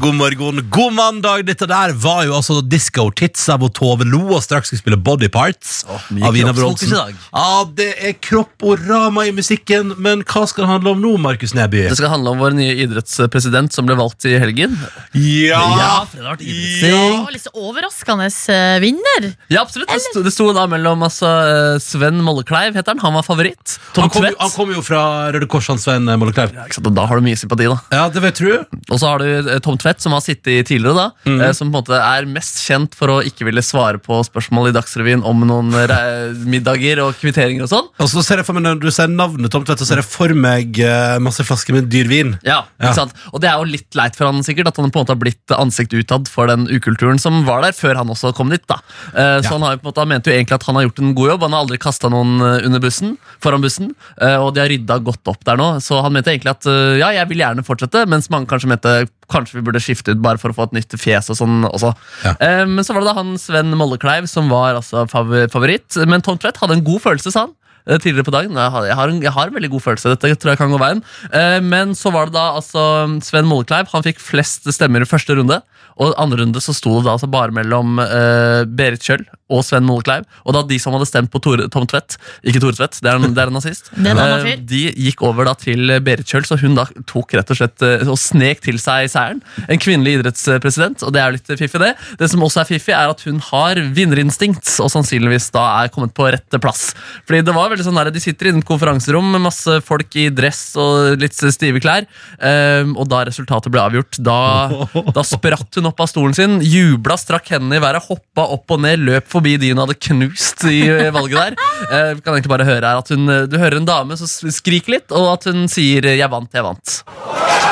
God morgen, god mandag. Dette der var jo altså Disco Tits av Tove Lo og straks skal spille Body Parts mye av Ina kroppsfokus Bronsen. i dag. Ja, det er kropp og rama i musikken, men hva skal det handle om nå, Markus Neby? Det skal handle om vår nye idrettspresident som ble valgt i helgen. Ja! for det har vært Det var litt så overraskende eh, vinner. Ja, absolutt. Det sto, det sto da mellom altså, eh, Sven Mollekleiv, heter han. Han var favoritt. Tom Han kommer Tvedt. jo, han kom jo fra Røde Kors, han Svein Mollekleiv. Ja, ikke sant, og da har du mye sympati, da. Ja, det vil jeg tro. Og så har du eh, Tom Tvedt, som har sittet i tidligere, da, Mm. eh, som på en måte er mest kjent for å ikke ville svare på spørsmål i Dagsrevyen om noen re- middager og kvitteringer og sånn. Og så ser jeg for meg Når du sier navnet Tom Tvedt, så ser jeg for meg eh, masse flasker med dyr vin. Ja, Ja. ikke sant? Og det er jo litt leit for han sikkert, at han på en måte har blitt ansikt utad for den ukulturen som var der før han også kom dit. da. Eh, Så han, har jo på en måte, han mente jo egentlig at han har gjort en god jobb, han har aldri kasta noen eh, under bussen, foran bussen, eh, og de har rydda godt opp der nå. Så han mente egentlig at eh, ja, jeg vil gjerne fortsette, mens mange kanskje mente kanskje vi burde skifte ut bare for å få et nytt fjes og sånn også. Ja. Eh, Men så var det da han Sven Mollekleiv som var altså fav favoritt, men Tom Tvedt hadde en god følelse, sa han eh, tidligere på dagen. Jeg har, jeg, har en, jeg har en veldig god følelse. Dette tror jeg kan gå veien. Eh, men så var det da altså Sven Mollekleiv. Han fikk flest stemmer i første runde. Og i andre runde så sto det da altså bare mellom eh, Berit Kjøll og Sven Mollekleiv. Og da de som hadde stemt på Tore, Tom Tvedt, ikke Tore Tvedt, det er en, det er en nazist, Det er en annen eh, fyr. de gikk over da til Berit Kjøll, så hun da tok rett og slett eh, og snek til seg seieren. En kvinnelig idrettspresident, og det er jo litt fiffig, det. Det som også er fiffig, er at hun har vinnerinstinkt, og sannsynligvis da er kommet på rette plass. Fordi det var veldig sånn der, De sitter inne i et konferanserom med masse folk i dress og litt stive klær, eh, og da resultatet ble avgjort, da, da spratt hun opp av stolen sin, jubla, strakk hendene i været, hoppa opp og ned, løp forbi de hun hadde knust i eh, valget der. Eh, Vi kan egentlig bare høre her at hun, eh, Du hører en dame som s- skriker litt, og at hun sier eh, 'jeg vant, jeg vant'. (laughs)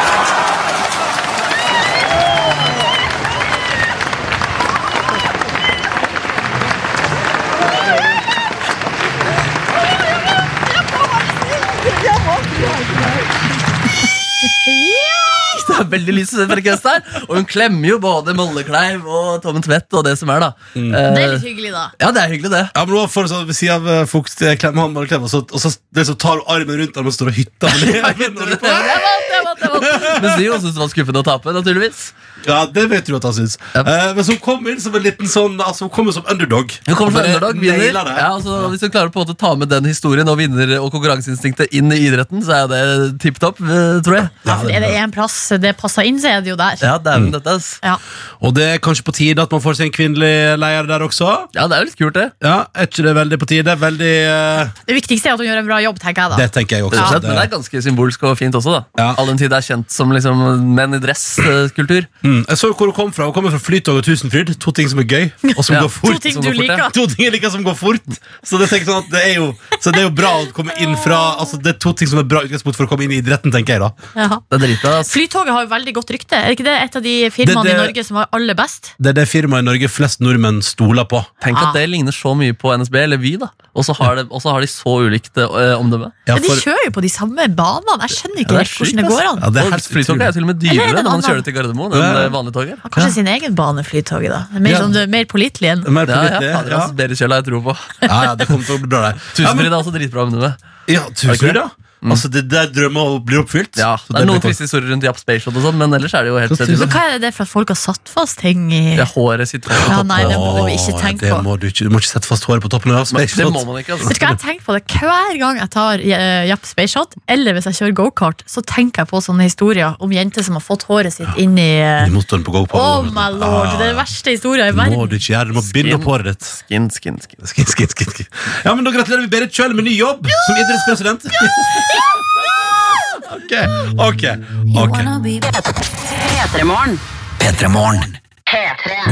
Det er veldig lys frekvens der, og hun klemmer jo både Mollekleiv og Tommen Tvedt og det som er, da. Eh, Det er litt hyggelig, da. Ja, det er hyggelig, det. Ja, men nå får du sånn Ved siden av eh, folk til klemme han bare klemmer, og så, og så, det så tar du armen rundt ham og står og hytter (laughs) med livet. Jeg vant, jeg vant, jeg vant. Mens de jo syntes det var skuffende å tape, naturligvis. Ja, det vet du at han syns. Ja. Eh, men så hun kom inn som en liten sånn Altså, hun kom jo som underdog. Hun kommer Og som bare underdog, vinner. naila det. Ja, altså, hvis hun klarer på en måte å ta med den historien og vinner og konkurranseinstinktet inn i idretten, så er det tipp topp, eh, tror jeg. Ja, for Altså, er det én plass det passer inn, så er det jo der. Ja, dæven dette, ass. Ja. Og det er kanskje på tide at man får seg en kvinnelig leder der også. Ja, det er jo litt kult, det. Ja, Er ikke det veldig på tide? Veldig eh, Det viktigste er at hun gjør en bra jobb, tenker Det jeg da. tenker jeg også. Rett og slett, Det- Men det er ganske symbolsk og fint også, da. Ja. All den tid det er kjent som liksom menn i dress-kultur. Mm. Jeg så jo hvor hun kom fra. Hun kommer fra Flytog og Tusenfryd. To ting som er gøy, og som Ja. går fort. To ting som du går fort, ja. liker. (laughs) To ting jeg liker som går fort. Så det, tenker jeg sånn at det, er jo, så det er jo bra å komme inn fra Altså Det er to ting som er bra utgangspunkt for å komme inn i idretten, tenker jeg. da Ja. Det er dritbra. ass. Flytoget har jo veldig godt rykte. Er ikke det et av de firmaene Det- det- i Norge som var aller best? Det er det firmaet i Norge flest nordmenn stoler på. Tenk Ah. at det ligner så mye på NSB, eller Vy, da. Og så har, det- og så har de så ulikt eh, omdømme. Ja, Men de for, kjører jo på de samme banene. Jeg skjønner Ja, ikke det er helt hvordan det sjukt, går ass. an. ja, det er Og helt Flytoget er utrolig. til og med Eller er dyrere det når man en annen? kjører til Gardermoen enn Ja. eh, vanlige tog her. Har Kanskje sin egen bane, Flytoget, da. Mer, sånn, mer pålitelig enn Mer Ja, ja, pålitelig, fader, ja. ass, Berit Kjøll har jeg tro på. Ja, ja, det kommer til å bli bra der. Ja, men- Tusenfryd er også dritbra omdømme. Ja, ikke tusenfryd, det? ja. Altså, det der drømmer blir oppfylt. Ja, Så det er blir noen kort. triste historier rundt Japp Spaceshot og sånn, men ellers er det jo helt Så sett trist. ut Men hva er det det er for at folk har satt fast ting i Ja, håret sitt på Ja, toppen. nei, det må vi ikke Åh, tenke det på. Må du, ikke, du må ikke sette fast håret på toppen av Men Det Spaceshot. må man ikke, altså. Vet du hva, Jeg tenker på det hver gang jeg tar eh, Japp Spaceshot, eller hvis jeg kjører gokart, så tenker jeg på sånne historier om jenter som har fått håret sitt inn i eh, Du må stå den på go på. Ah, Oh my lord, det er den verste historien i Det må verden. du ikke gjøre. Du må binde opp håret ditt. Skin, skin, skin. Skin, skin, skin, skin. Ja, men Da gratulerer vi Berit Kjøll med ny jobb som idrettspresident. (laughs) ok, ok, ok Petremorgen. P3morgen.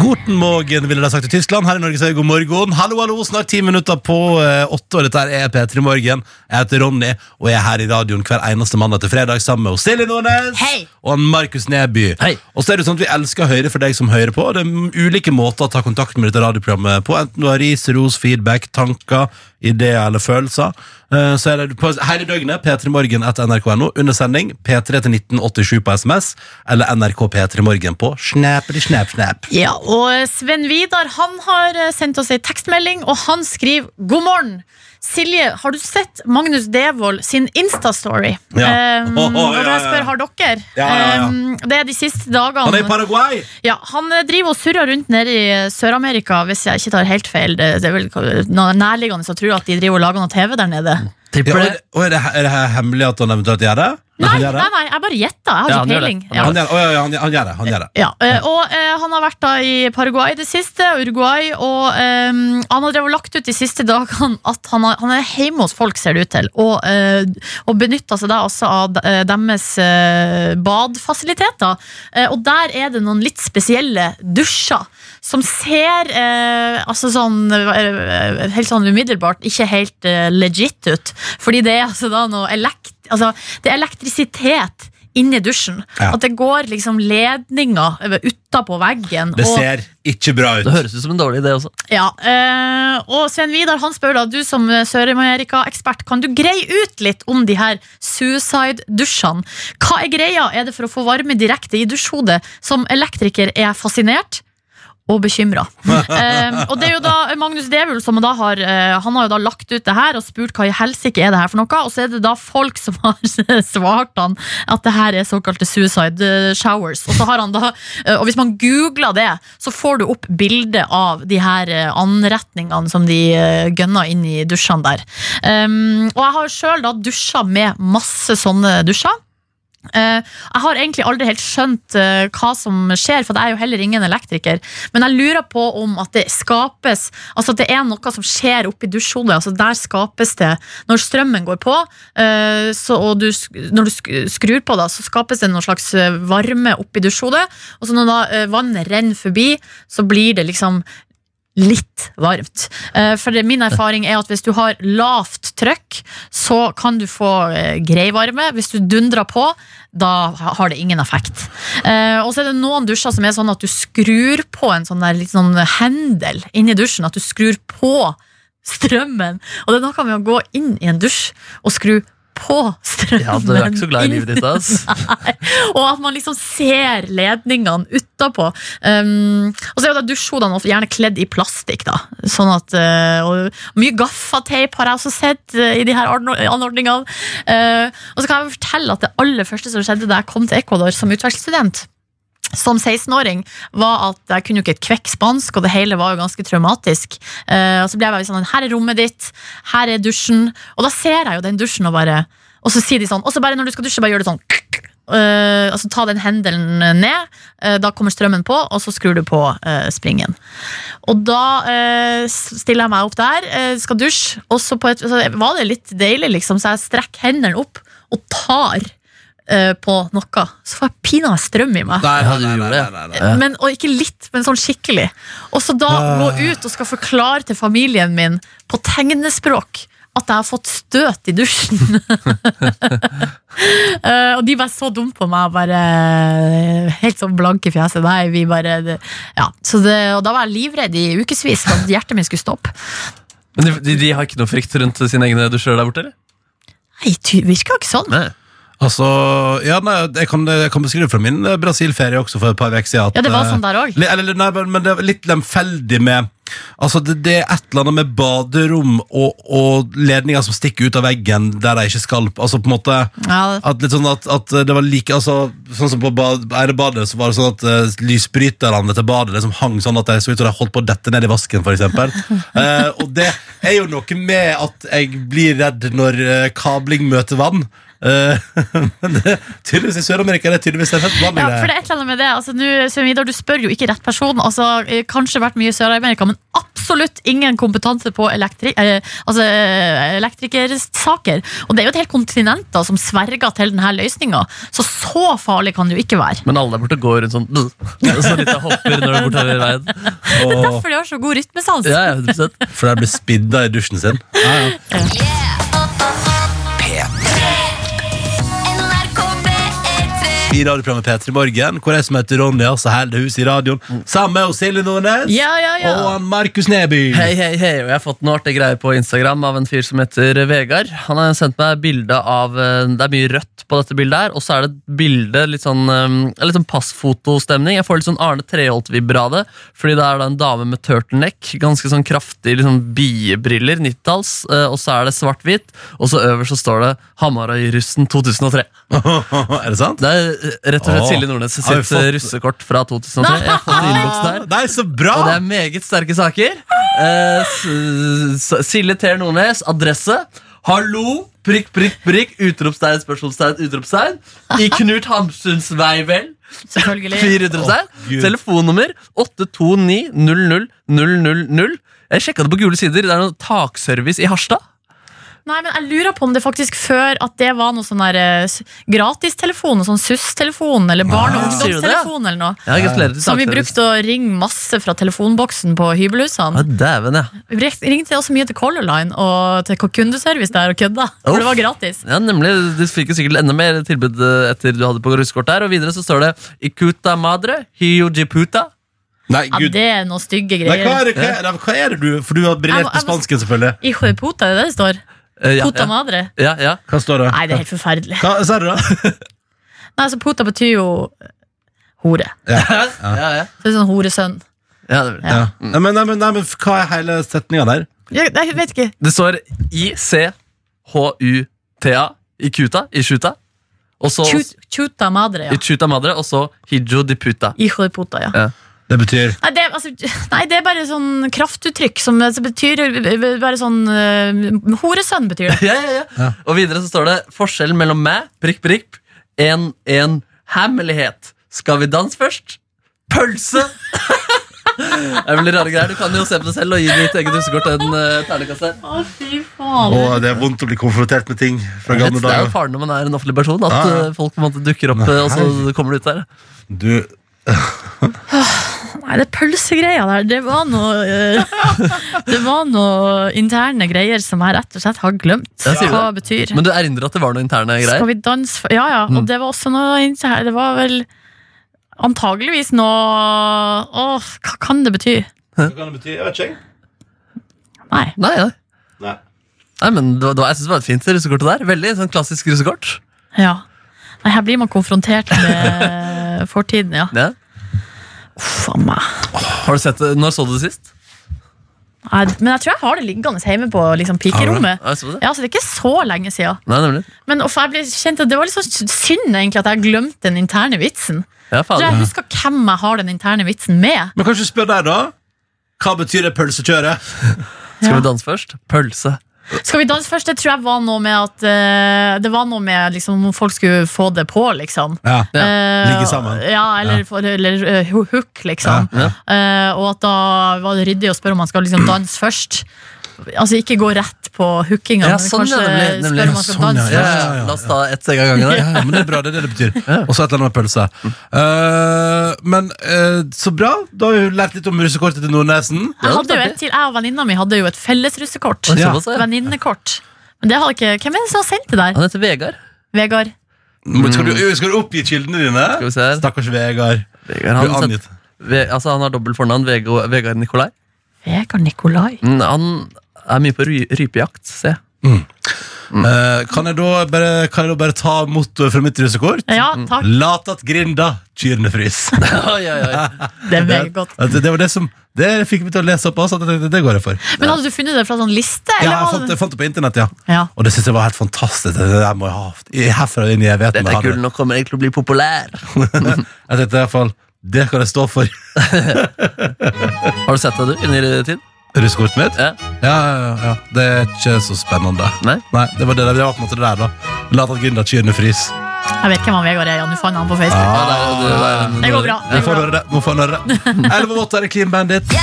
Guten morgen, ville de sagt i Tyskland. Her i Norge sier vi god morgen. Hallo, hallo, snart ti minutter på eh, åtte, og dette her er P3 Morgen. Jeg heter Ronny, og jeg er her i radioen hver eneste mandag til fredag sammen med Silje Nordnes Hei. og Markus Neby. Hei. Og så er det sånn at Vi elsker å høre fra deg som hører på. Det er m- ulike måter å ta kontakt med dette radioprogrammet på. Enten du har ris, ros, feedback, tanker, ideer eller følelser. Eh, Så er det på hele døgnet p3morgen etter nrk.no under sending. P3 til 1987 på SMS eller NRK P3morgen på snappity snap snap. Ja, og Sven Vidar han har eh, sendt oss ei tekstmelding, og han skriver 'God morgen'. Silje, har du sett Magnus Devold sin Instastory? (laughs) Ja. Um, Åh, åh, og ja, ja, da ja. spør har dere. Ja, ja, ja. Um, det er de siste dagene. Han er i Paraguay! Ja, Han eh, driver og surrer rundt nede i eh, Sør-Amerika, hvis jeg ikke tar helt feil. Det det er vel eh, noe nærliggende som tror at de driver og lager noe TV der nede. Ja, Tipper og det. er, og er, det, er det hemmelig at han eventuelt gjør det? Nei, Nei, han gjør det. nei, nei, jeg bare gjetta. Jeg har Ja, ikke han gjør peiling. det. Han Ja. Han gjør, å, ja, ja, han, gjør- han gjør det. Han gjør det. Ja, eh, og eh, han har vært da i Paraguay det siste, og Uruguay, og eh, han har drevet og lagt ut de siste dagene at han, har, han er hjemme hos folk, ser det ut til, og, eh, og benytta seg da altså av de- eh, deres eh, badfasiliteter. Eh, og der er det noen litt spesielle dusjer som ser eh, altså sånn eh, helt sånn umiddelbart ikke helt eh, legit ut, fordi det er altså da noe elekt... Altså, det er elektrisitet inni dusjen. Ja. At det går liksom ledninger utapå veggen. Det og- ser ikke bra ut. Det høres ut som en dårlig idé også. ja, eh, og Svein Vidar han spør da, du som Sør-Amerika-ekspert, kan du greie ut litt om de her suicide-dusjene? Hva er greia? Er det for å få varme direkte i dusjhodet? Som elektriker er jeg fascinert. Og bekymra. og det er jo da Magnus Devold som da har eh, Han har jo da lagt ut det her og spurt hva i helsike er det her for noe. Og så er det da folk som har (laughs) svart han at det her er såkalte suicide eh, showers. Og, så har han da, eh, og hvis man googler det, så får du opp bilde av de her eh, anretningene som de eh, gønner inn i dusjene der. Um, og jeg har sjøl da dusja med masse sånne dusjer. Eh, jeg har egentlig aldri helt skjønt eh, hva som skjer, for jeg er jo heller ingen elektriker. Men jeg lurer på om at det skapes Altså at det er noe som skjer oppi dusjhodet. Altså der skapes det Når strømmen går på, eh, så, og du, sk- når du sk- skrur på, da, så skapes det noen slags eh, varme oppi dusjhodet. Og så når da eh, vannet renner forbi, så blir det liksom litt varmt. Eh, For det, min erfaring er at hvis du har lavt trøkk, så kan du få eh, grei varme. Hvis du dundrer på, da ha- har det ingen effekt. Eh, Og så er det noen dusjer som er sånn at du skrur på en sånn der litt sånn hendel inni dusjen. At du skrur på strømmen. Og det er noe med å gå inn i en dusj og skru på strømmen. Ja, Du er ikke så glad i inn. livet (laughs) ditt, ass. Og at man liksom ser ledningene utapå. Um, og så er jo da dusjhodene ofte gjerne kledd i plastikk, da. Sånn at eh, og Mye gaffateip har jeg også sett eh, i de her anor- anordningene. Eh, og så kan jeg fortelle at det aller første som skjedde da jeg kom til Ecuador som utvekslingsstudent, som 16-åring var at jeg kunne jo ikke et kvekk spansk, og det hele var jo ganske traumatisk. Eh, og så ble jeg bare sånn, her er rommet ditt, her er dusjen, og da ser jeg jo den dusjen og bare, og så sier de sånn, og så bare når du skal dusje, bare gjør det sånn, eh, altså ta den hendelen ned, eh, da kommer strømmen på, og så skrur du på eh, springen. Og da eh, s- stiller jeg meg opp der, eh, skal dusje, og så, på et, så var det litt deilig liksom, så jeg strekker hendene opp og tar eh, på noe, så får jeg pina strøm i meg. Nei, Ja, du gjorde det. nei, nei. Ja. Men, og ikke litt, men sånn skikkelig. Og så da gå ut og skal forklare til familien min på tegnespråk at jeg har fått støt i dusjen. (laughs) Eh, og de bare så dumt på meg, bare eh, helt sånn blanke i fjeset. Nei, vi bare det- Ja. Så det, og da var jeg livredd i ukevis for at hjertet mitt skulle stoppe. Men de, de, de har ikke noe frykt rundt sine egne dusjer der borte, eller? Nei, det virker jo ikke sånn. Nei. Altså, ja, nei, jeg kan, jeg kan beskrive fra min eh, Brasil-ferie også for et par uker siden. at, Ja, det var eh, sånn der òg. Li- Eller, nei, men men det er litt lemfeldig med Altså, det, det er et eller annet med baderom og, og ledninger som stikker ut av veggen der de ikke skal Altså, på en måte Ja, at litt sånn at, at det var like altså, Sånn som på bad, Eirebadet så var det sånn at eh, lysbryterne til badet liksom hang sånn at de så ut som de holdt på å dette ned i vasken, for (laughs) eksempel. Eh, og det er jo noe med at jeg blir redd når eh, kabling møter vann. Eh, (laughs) men det, tydeligvis i Sør-Amerika er det tydeligvis en helt vanlig Ja, greie. for det eh, er et eller annet med det. Altså, nå, Svein Vidar, du spør jo ikke rett person. Altså, eh, kanskje vært mye i Sør-Amerika, men absolutt ingen kompetanse på elektri eh, altså, eh, elektrikersaker. Og det er jo et helt kontinent da, som sverger til denne løsninga. Så så farlig kan det jo ikke være. Men alle der borte går rundt sånn (laughs) «Bzz», og så litt av hopper når de går bortover veien. Og, Derfor de har så god rytmesans. Ja, ja, 100%. for de blir spidda i dusjen sin. NRK P3 I radioprogrammet P3 Morgen, hvor jeg som heter Ronny, altså holder huset i radioen sammen med Silje Nordnes Ja, ja, ja. og han Markus Neby. Hei, hei, hei, og jeg har fått noen artig greie på Instagram av en fyr som heter Vegard. Han har sendt meg bilde av eh, Det er mye rødt på dette bildet her, og så er det et bilde litt sånn, eh, litt sånn passfotostemning. Jeg får litt sånn Arne Treholt-vibber av det, fordi det er da en dame med turtleneck, ganske sånn kraftig liksom biebriller, 90-talls, eh, og så er det svart-hvitt, og så øverst så står det Hamarøy-russen 2003. (laughs) er det sant? Det er eh, rett og slett Åh, Silje Nordnes sitt har vi fått- eh, russekort fra 2003. Jeg har (laughs) fått innboks der. Ah. Nei, så bra! Og det er Ah! meget sterke saker. Eh, s- s- Silje Ter Nordnes, adresse. Hallo! prikk, prikk, prikk, utropstegn, spørsmålstegn, utropstegn. I Knut Hamsuns vei, vel? (laughs) Selvfølgelig. 400 seg. Gud. Telefonnummer 829-00000. Jeg sjekka det på gule sider. Det er noe takservice i Harstad. Nei, men jeg lurer på om det faktisk før at det var noe sånn der eh, s- gratistelefon, sånn SUS-telefon eller barne- og Ah. Sier du det, ja? ungdomstelefon eller noe. Ja, gratulerer til Som vi takservice. brukte å ringe masse fra telefonboksen på Ja, hybelhusene. dæven, ja. Vi brek- ringte også mye til Color Line og til kundeservice der og kødda. For det var gratis. Ja, nemlig. Du fikk jo sikkert enda mer tilbud eh, etter du hadde på russekort der. Og videre så står det Ikuta madre, hiojiputa. Nei, Ja, gud. det er noen stygge Nei, hva, greier. er det, hva, er det, hva er det du For du har briljert Jeg må- på jeg må- spansken, selvfølgelig. I Hueputa, er det det det står? Eh, ja, Puta ja, madre? ja, ja. Hva står det? Nei, det er helt (laughs) forferdelig. Hva sa du, da? Nei, altså Puta betyr jo eh, hore. ja, ja. Så det er sånn horesønn. ja det, Ja. Nei, men, nei, men, nei, men f- hva er hele setninga der? Jeg, jeg vet ikke. det står I-C-H-U-T-A. Ikuta. Ishuta. Og så Chut, chuta madre, ja. Ichuta madre, og så hijo di puta. I Hueputa, ja. Det betyr Nei det, altså, (laughs) nei, det er bare sånn kraftuttrykk som altså, betyr Bare sånn eh, Horesønn betyr det. Ja, ja, ja. Og videre så står det forskjellen mellom meg, prikk, prikk, en, en hemmelighet. Skal vi danse først? Pølse! (laughs) det er veldig rare greier. Du kan jo se på det selv og gi ditt eget husekort en uh, ternekast der. Å, fy faen. Å, det er vondt å bli konfrontert med ting fra Det gamle er jo dager. faren når man er en offentlig person, at Ja, ja. eh, folk på en måte dukker opp, eh, og så kommer det ut der. Du, Nei, det pølsegreia der, det var noe eh, (laughs) Det var noe interne greier som jeg rett og slett har glemt Jeg sier hva betyr. Men du erindrer at det var noen interne Skal greier? vi danse for Ja ja, Mm. og det var også noe inter- Det var vel antageligvis noe Åh, hva kan det bety? hva kan det bety? Jeg vet ikke. jeg. Nei. Nei, nei. Nei. Nei, men det var, det var- Jeg synes det var et fint russekort det der. Veldig sånn klassisk russekort. Ja. Nei, her blir man konfrontert med eh, fortiden, ja. Ja. Uff a meg. Har du sett det? Når så du det sist? Nei, Men jeg tror jeg har det liggende hjemme på liksom, pikerommet. Ja, jeg så det. Ja, så det er ikke så lenge siden. Nei, nemlig. Men uff, jeg ble kjent at det var litt sånn synd egentlig at jeg glemte den interne vitsen. Ja, Jeg tror faen. jeg husker hvem jeg har den interne vitsen med. Men kanskje spør deg, da. Hva betyr det pølsekjøret? Skal Ja. vi danse først? Pølse. Skal vi danse først? Det tror jeg var noe med at eh, Det var noe med liksom, om folk skulle få det på, liksom. Ja. Ja, Eh, ligge sammen. Ja, eller, for- eller eh, ho- hook, liksom. Ja, Eh, og at da var det ryddig å spørre om man skal liksom danse først. Altså ikke gå rett på hookinga, Ja, men sånn, ja, kanskje nemlig, nemlig. spørre om man skal Sånn, ja, danse Ja, først. ja, ja. La oss ta ett steg av gangen. Ja, Der. ja, men det er bra, det er det det betyr. Og så et eller annet med pølse. Eh, men eh, så bra. Da har vi lært litt om russekortet til Nordnesen. Jeg Ja, det hadde jo er et til, jeg og venninna mi hadde jo et felles russekort. Oi, Ja. såpass, ja. Venninnekort. Men det hadde ikke, hvem er det som har sendt det der? Han heter Vegard. Vegard? Men Skal, du, skal du oppgi kildene Mm. Skal dine? vi se her. Stakkars Vegard. Du er Vegard han, sendte- angitt. Ve altså, han har dobbelt fornavn. Vego- Vegard Nikolai. Vegard Nikolai. Mm, Han er mye på ry rypejakt, ser (laughs) jeg. Eh, kan, jeg da bare, kan jeg da bare ta mottoet fra mitt russekort? Ja, takk. Lat at grinda, kyrne frys. Oi, oi, oi. Det er meget godt. Altså, det var det som Det fikk meg til å lese opp også, at jeg tenkte, det går jeg for. Men hadde du funnet det fra sånn liste? Ja, Eller jeg var fant, det? jeg fant det på internett, ja. Ja. Og det syns jeg var helt fantastisk. Det der må jeg ha haft. I- Herfra og inn i evigheten. Dette må er jeg ha kul, nå kommer jeg til å bli (laughs) populær. Jeg tenkte i hvert fall Det kan jeg stå for. (laughs) Har du sett det, du? I nyere tid? Russekortet mitt? Ja. Ja, ja, ja. Det er ikke så spennende. Nei? det var det, der- det var på en måte det der, da. La at grinda kyrne frys. Jeg vet hvem han Vegard er, ja. Nå fant jeg han på Facebook. Ja, det, er- det, er- Det går bra. Nå Det får han går bra. høre det. Nå får han høre det. (laughs) Elleve og åtte er det Clean Bandit.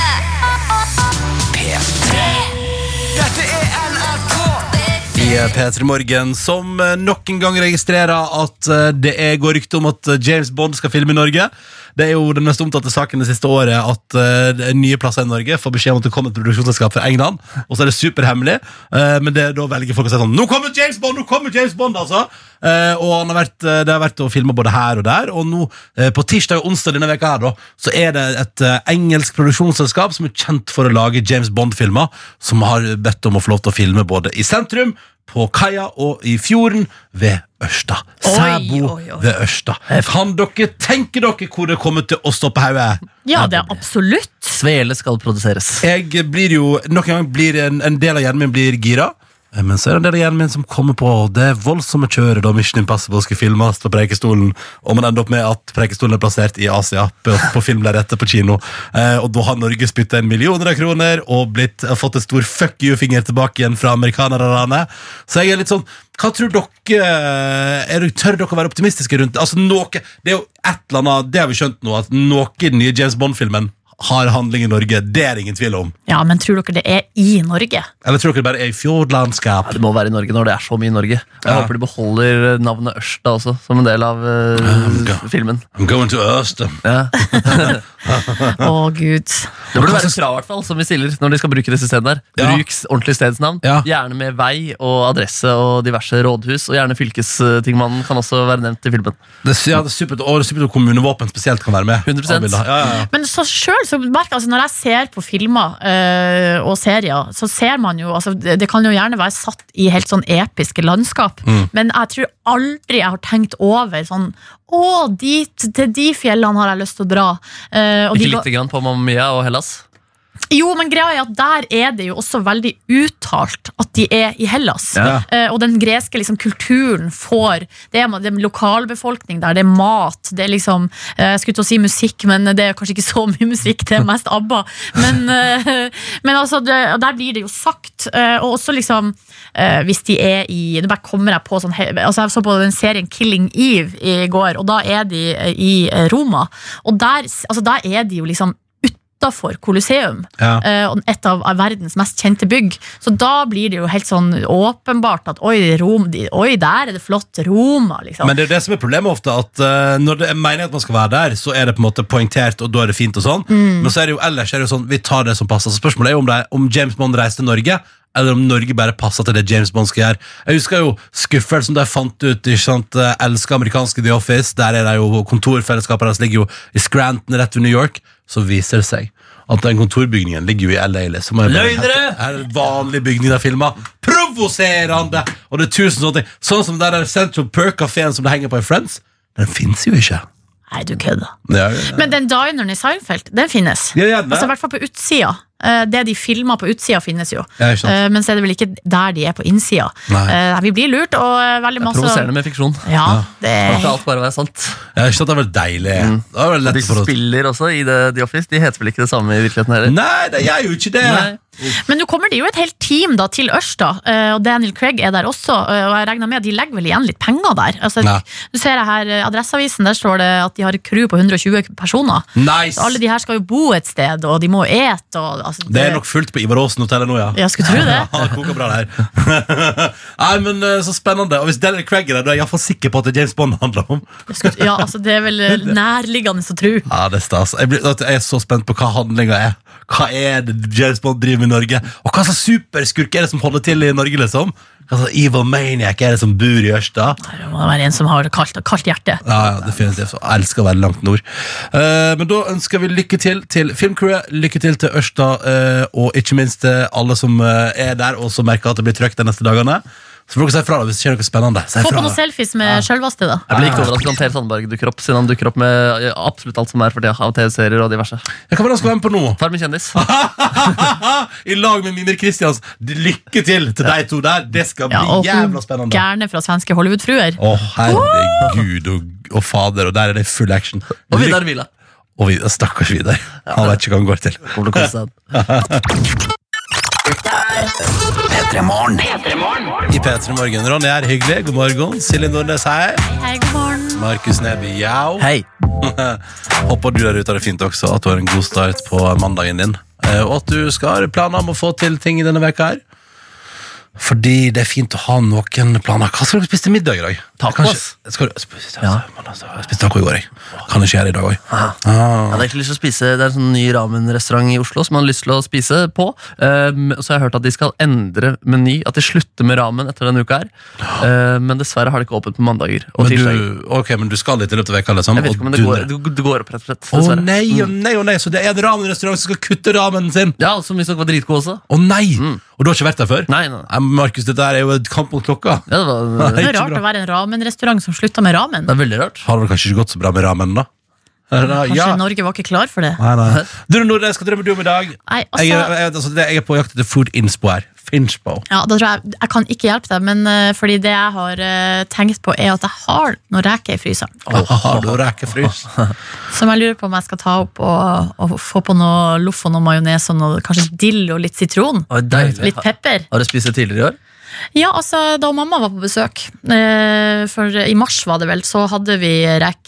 I eh, P3 Morgen, som eh, nok en gang registrerer at eh, det er, går rykte om at eh, James Bond skal filme i Norge. Det er jo den mest omtalte saken det siste året at eh, det er nye plasser i Norge får beskjed om at det kommer et produksjonsselskap fra England, og så er det superhemmelig. Eh, Men det, da velger folk å si sånn Nå kommer James Bond! Nå kommer James Bond! altså! Eh, Og han har vært, eh, det har vært å filme både her og der, og nå eh, på tirsdag og onsdag denne veka her da, så er det et eh, engelsk produksjonsselskap som er kjent for å lage James Bond-filmer, som har bedt om å få lov til å filme både i sentrum, på kaia og i fjorden ved Ørsta. Sæbo oi, oi. ved Ørsta. Kan dere tenke dere hvor det kommer til å stoppe hodet? Ja, det er absolutt. Svele skal produseres. Jeg blir jo Nok en gang blir en, en del av hjernen min blir gira. Eh, Men så er det en del av hjernen min som kommer på det voldsomme kjøret da Mission Impossible skulle filmes på Preikestolen, og man ender opp med at Preikestolen er plassert i Asia, på, på filmlerretet på kino. Eh, og da har Norge spytta inn millioner av kroner og blitt, har fått en stor fuck you-finger tilbake igjen fra amerikanerne. Så jeg er litt sånn hva tror dere er, det- Tør dere å være optimistiske rundt det? altså, noe, det? Er jo et eller annet, det har vi skjønt nå, at noe i den nye James Bond-filmen har handling i Norge. Det er det ingen tvil om. Ja, men tror dere det er i Norge? Eller tror dere det bare er i fjordlandskap? Det må være i Norge når det er så mye i Norge. Og Jeg Ja. håper de beholder eh, navnet Ørsta også, som en del av eh, God. filmen. I'm going to Ørstem. Ja. Det Å, gud. burde være krav i hvert fall, som vi stiller når de skal bruke disse stedene. der. Ja. Bruk s- ordentlig stedsnavn. Ja. Gjerne med vei og adresse og diverse rådhus. Og gjerne fylkestingmannen kan også være nevnt i filmen. Det, er- ja, det er supert, og det er supert at kommunevåpen spesielt kan være med. 100%. Ja, ja, ja. Men så selv, så merker, jeg, altså, når jeg ser på filmer eh, og serier, så ser man jo altså, Det det kan jo gjerne være satt i helt sånn episke landskap, men jeg tror aldri jeg har tenkt over sånn Å, dit, til de fjellene har jeg lyst til å dra. Eh, og de ga- Ikke lite grann på Mamma Mia og Hellas. Jo, men greia er at der er det jo også veldig uttalt at de er i Hellas. Ja. Eh, og den greske liksom, kulturen får Det er, det er lokalbefolkning der, det er mat, det er liksom eh, Jeg skulle til å si musikk, men det er kanskje ikke så mye musikk, det er mest ABBA. Men, eh, men altså, det, og der blir det jo sagt. eh, og også liksom eh, hvis de er i Nå bare kommer jeg på sånn he- altså Jeg så på den serien Killing Eve i går, og da er de eh, i eh, Roma. Og der, s- altså, der er de jo liksom utafor Colosseum Ja. eh, og et av av verdens mest kjente bygg. Så da blir det jo helt sånn åpenbart at oi, Rom, de, oi der er det flott Roma, liksom. Men det er jo det som er problemet ofte, at eh, når det er meningen at man skal være der, så er det på en måte poengtert, og da er det fint og sånn. Men så er det jo ellers er det jo sånn, vi tar det som passer. Så spørsmålet er jo om, det er, om James Bond reiser til Norge, eller om Norge bare passer til det James Bond skal gjøre. Jeg husker jo skuffelsen da jeg fant ut, ikke sant, eh, elsker amerikanske The Office, der er det jo kontorfellesskapet deres ligger jo i Scranton rett ved New York, så viser det seg. At den kontorbygningen ligger jo i LA liksom. Og jeg bare- Løgnere! er en vanlig bygning der filma. Provoserende! Og det er tusen sånne ting. Sånn som den der Central Perk-kafeen som det henger på i Friends. Den fins jo ikke. Nei, du kødder. Ja, ja, Men den dineren i Seinfeld, den finnes. Ja, gjerne. Altså, I hvert fall på utsida. Eh, Det de filmer på utsida, finnes jo. Ja, ikke sant. Eh, Men så er det vel ikke der de er på innsida. Nei. Eh, Vi blir lurt, og eh, veldig masse Provoserende med fiksjon. Ja, det Da er skal alt bare være sant. ja, ikke sant, det hadde vært deilig. Mm. Det hadde vært De lett som for oss. spiller også i The, The Office, de heter vel ikke det samme i virkeligheten heller? Nei, det gjør jo ikke det. Nei. Men nå kommer det jo et helt team da til Ørsta, eh, og Daniel Craig er der også. eh, Og jeg regner med at de legger vel igjen litt penger der. Altså, Ja. nå ser jeg her eh, Adresseavisen, der står det at de har et crew på 120 personer. Nice! Så alle de her skal jo bo et sted, og de må ete. Og, altså, Det er nok fullt på Ivar Aasen-hotellet nå, ja. Ja, skulle tro (laughs) det. Ja, det koker bra der. (laughs) Nei, men eh, Så spennende. Og hvis Daniel Craig er der, da er jeg iallfall sikker på at det er James Bond det handler om. Jeg skulle- Ja, altså, det er vel eh, nærliggende å tro. Ja, det er stas. Jeg, blir, at jeg er så spent på hva handlinga er. Hva er det James Bond driver med i Norge? Og hva slags superskurk er det som holder til i Norge? liksom? Hva slags evil maniac er det som bor i Ørsta? Det må være en som har kaldt, kaldt hjerte. Ja, ja, definitivt. Jeg elsker å være langt nord. Eh, men da ønsker vi lykke til til filmcrewet, lykke til til Ørsta, eh, og ikke minst til alle som eh, er der, og som merker at det blir trøkk de neste dagene. Så får dere si fra da hvis det skjer noe spennende. Si Få på fra. noen selfies med sjølveste, da. Jeg blir ikke overrasket om Per Sandberg dukker opp, siden han dukker opp med eh, absolutt alt som er for tida av TV-serier og diverse. Ja, Hva var det han skulle være med på nå? Farmen kjendis. (laughs) I lag med Mimir Kristians. Lykke til til de to der. Det skal bli Ja, og hun jævla spennende. gærne fra svenske Hollywood-fruer. Å, herregud og, og fader, og der er det full action. Og Vidar Vila. Og Vidar, Stakkars Vidar. Han vet ikke hva han går til. Kommer til å kose seg. I P3 Morgen. Ronny er hyggelig. God morgen. Silje Nordnes, hei. Hei, god morgen. Markus Neby, jau. Hei. Håper du der ute har det fint også, at du har en god start på mandagen din. Eh, Og at du skal ha planer om å få til ting i denne veka her. Fordi det er fint å ha noen planer. Hva skal dere spise til middag i dag? Tacos. Kanskje- Skal du, spise, men altså, jeg spiste taco i går, jeg. Kan ikke gjøre det i dag òg. Jeg hadde egentlig lyst til å spise Det er en sånn ny ramenrestaurant i Oslo som man har lyst til å spise på. Um, så jeg har hørt at de skal endre meny, at de slutter med ramen etter denne uka her. Uh, men dessverre har de ikke åpent på mandager og Men tirsdager. du, ok, men du skal litt i løpet av veka, liksom? Jeg vet ikke om det går, det det går opp, rett og slett. Å Dessverre. Mm. nei, å nei, å nei, så det er en ramenrestaurant som skal kutte ramen sin! Ja, som visstnok var dritgod også. Å nei! Og du har ikke vært der før? Mm. Nei, nei. nei. Nei, Markus, dette her er jo et kamp mot klokka. Ja, det, var, Det Nei, er ikke rart bra. å være en ramenrestaurant som slutta med ramen. det er veldig rart. Har det vel kanskje ikke gått så bra med ramen, da? Kanskje Norge var ikke klar for det. Nei, nei. Du, Nordnes, hva drømmer du om i dag? Nei, jeg, altså... er, jeg, altså, det- jeg er på jakt etter food inspo her. Finch på. Ja, da tror jeg, jeg kan ikke hjelpe deg, men eh, fordi det jeg har eh, tenkt på, er at jeg har noen reker i fryseren. (laughs) Har du rekefrys? Som jeg lurer på om jeg skal ta opp og, og få på noe loff og noe majones og noe, kanskje dill og litt sitron. Å, deilig. Litt pepper. Har du spist det tidligere i år? Ja, altså, da mamma var på besøk, eh, for i mars var det vel, så hadde vi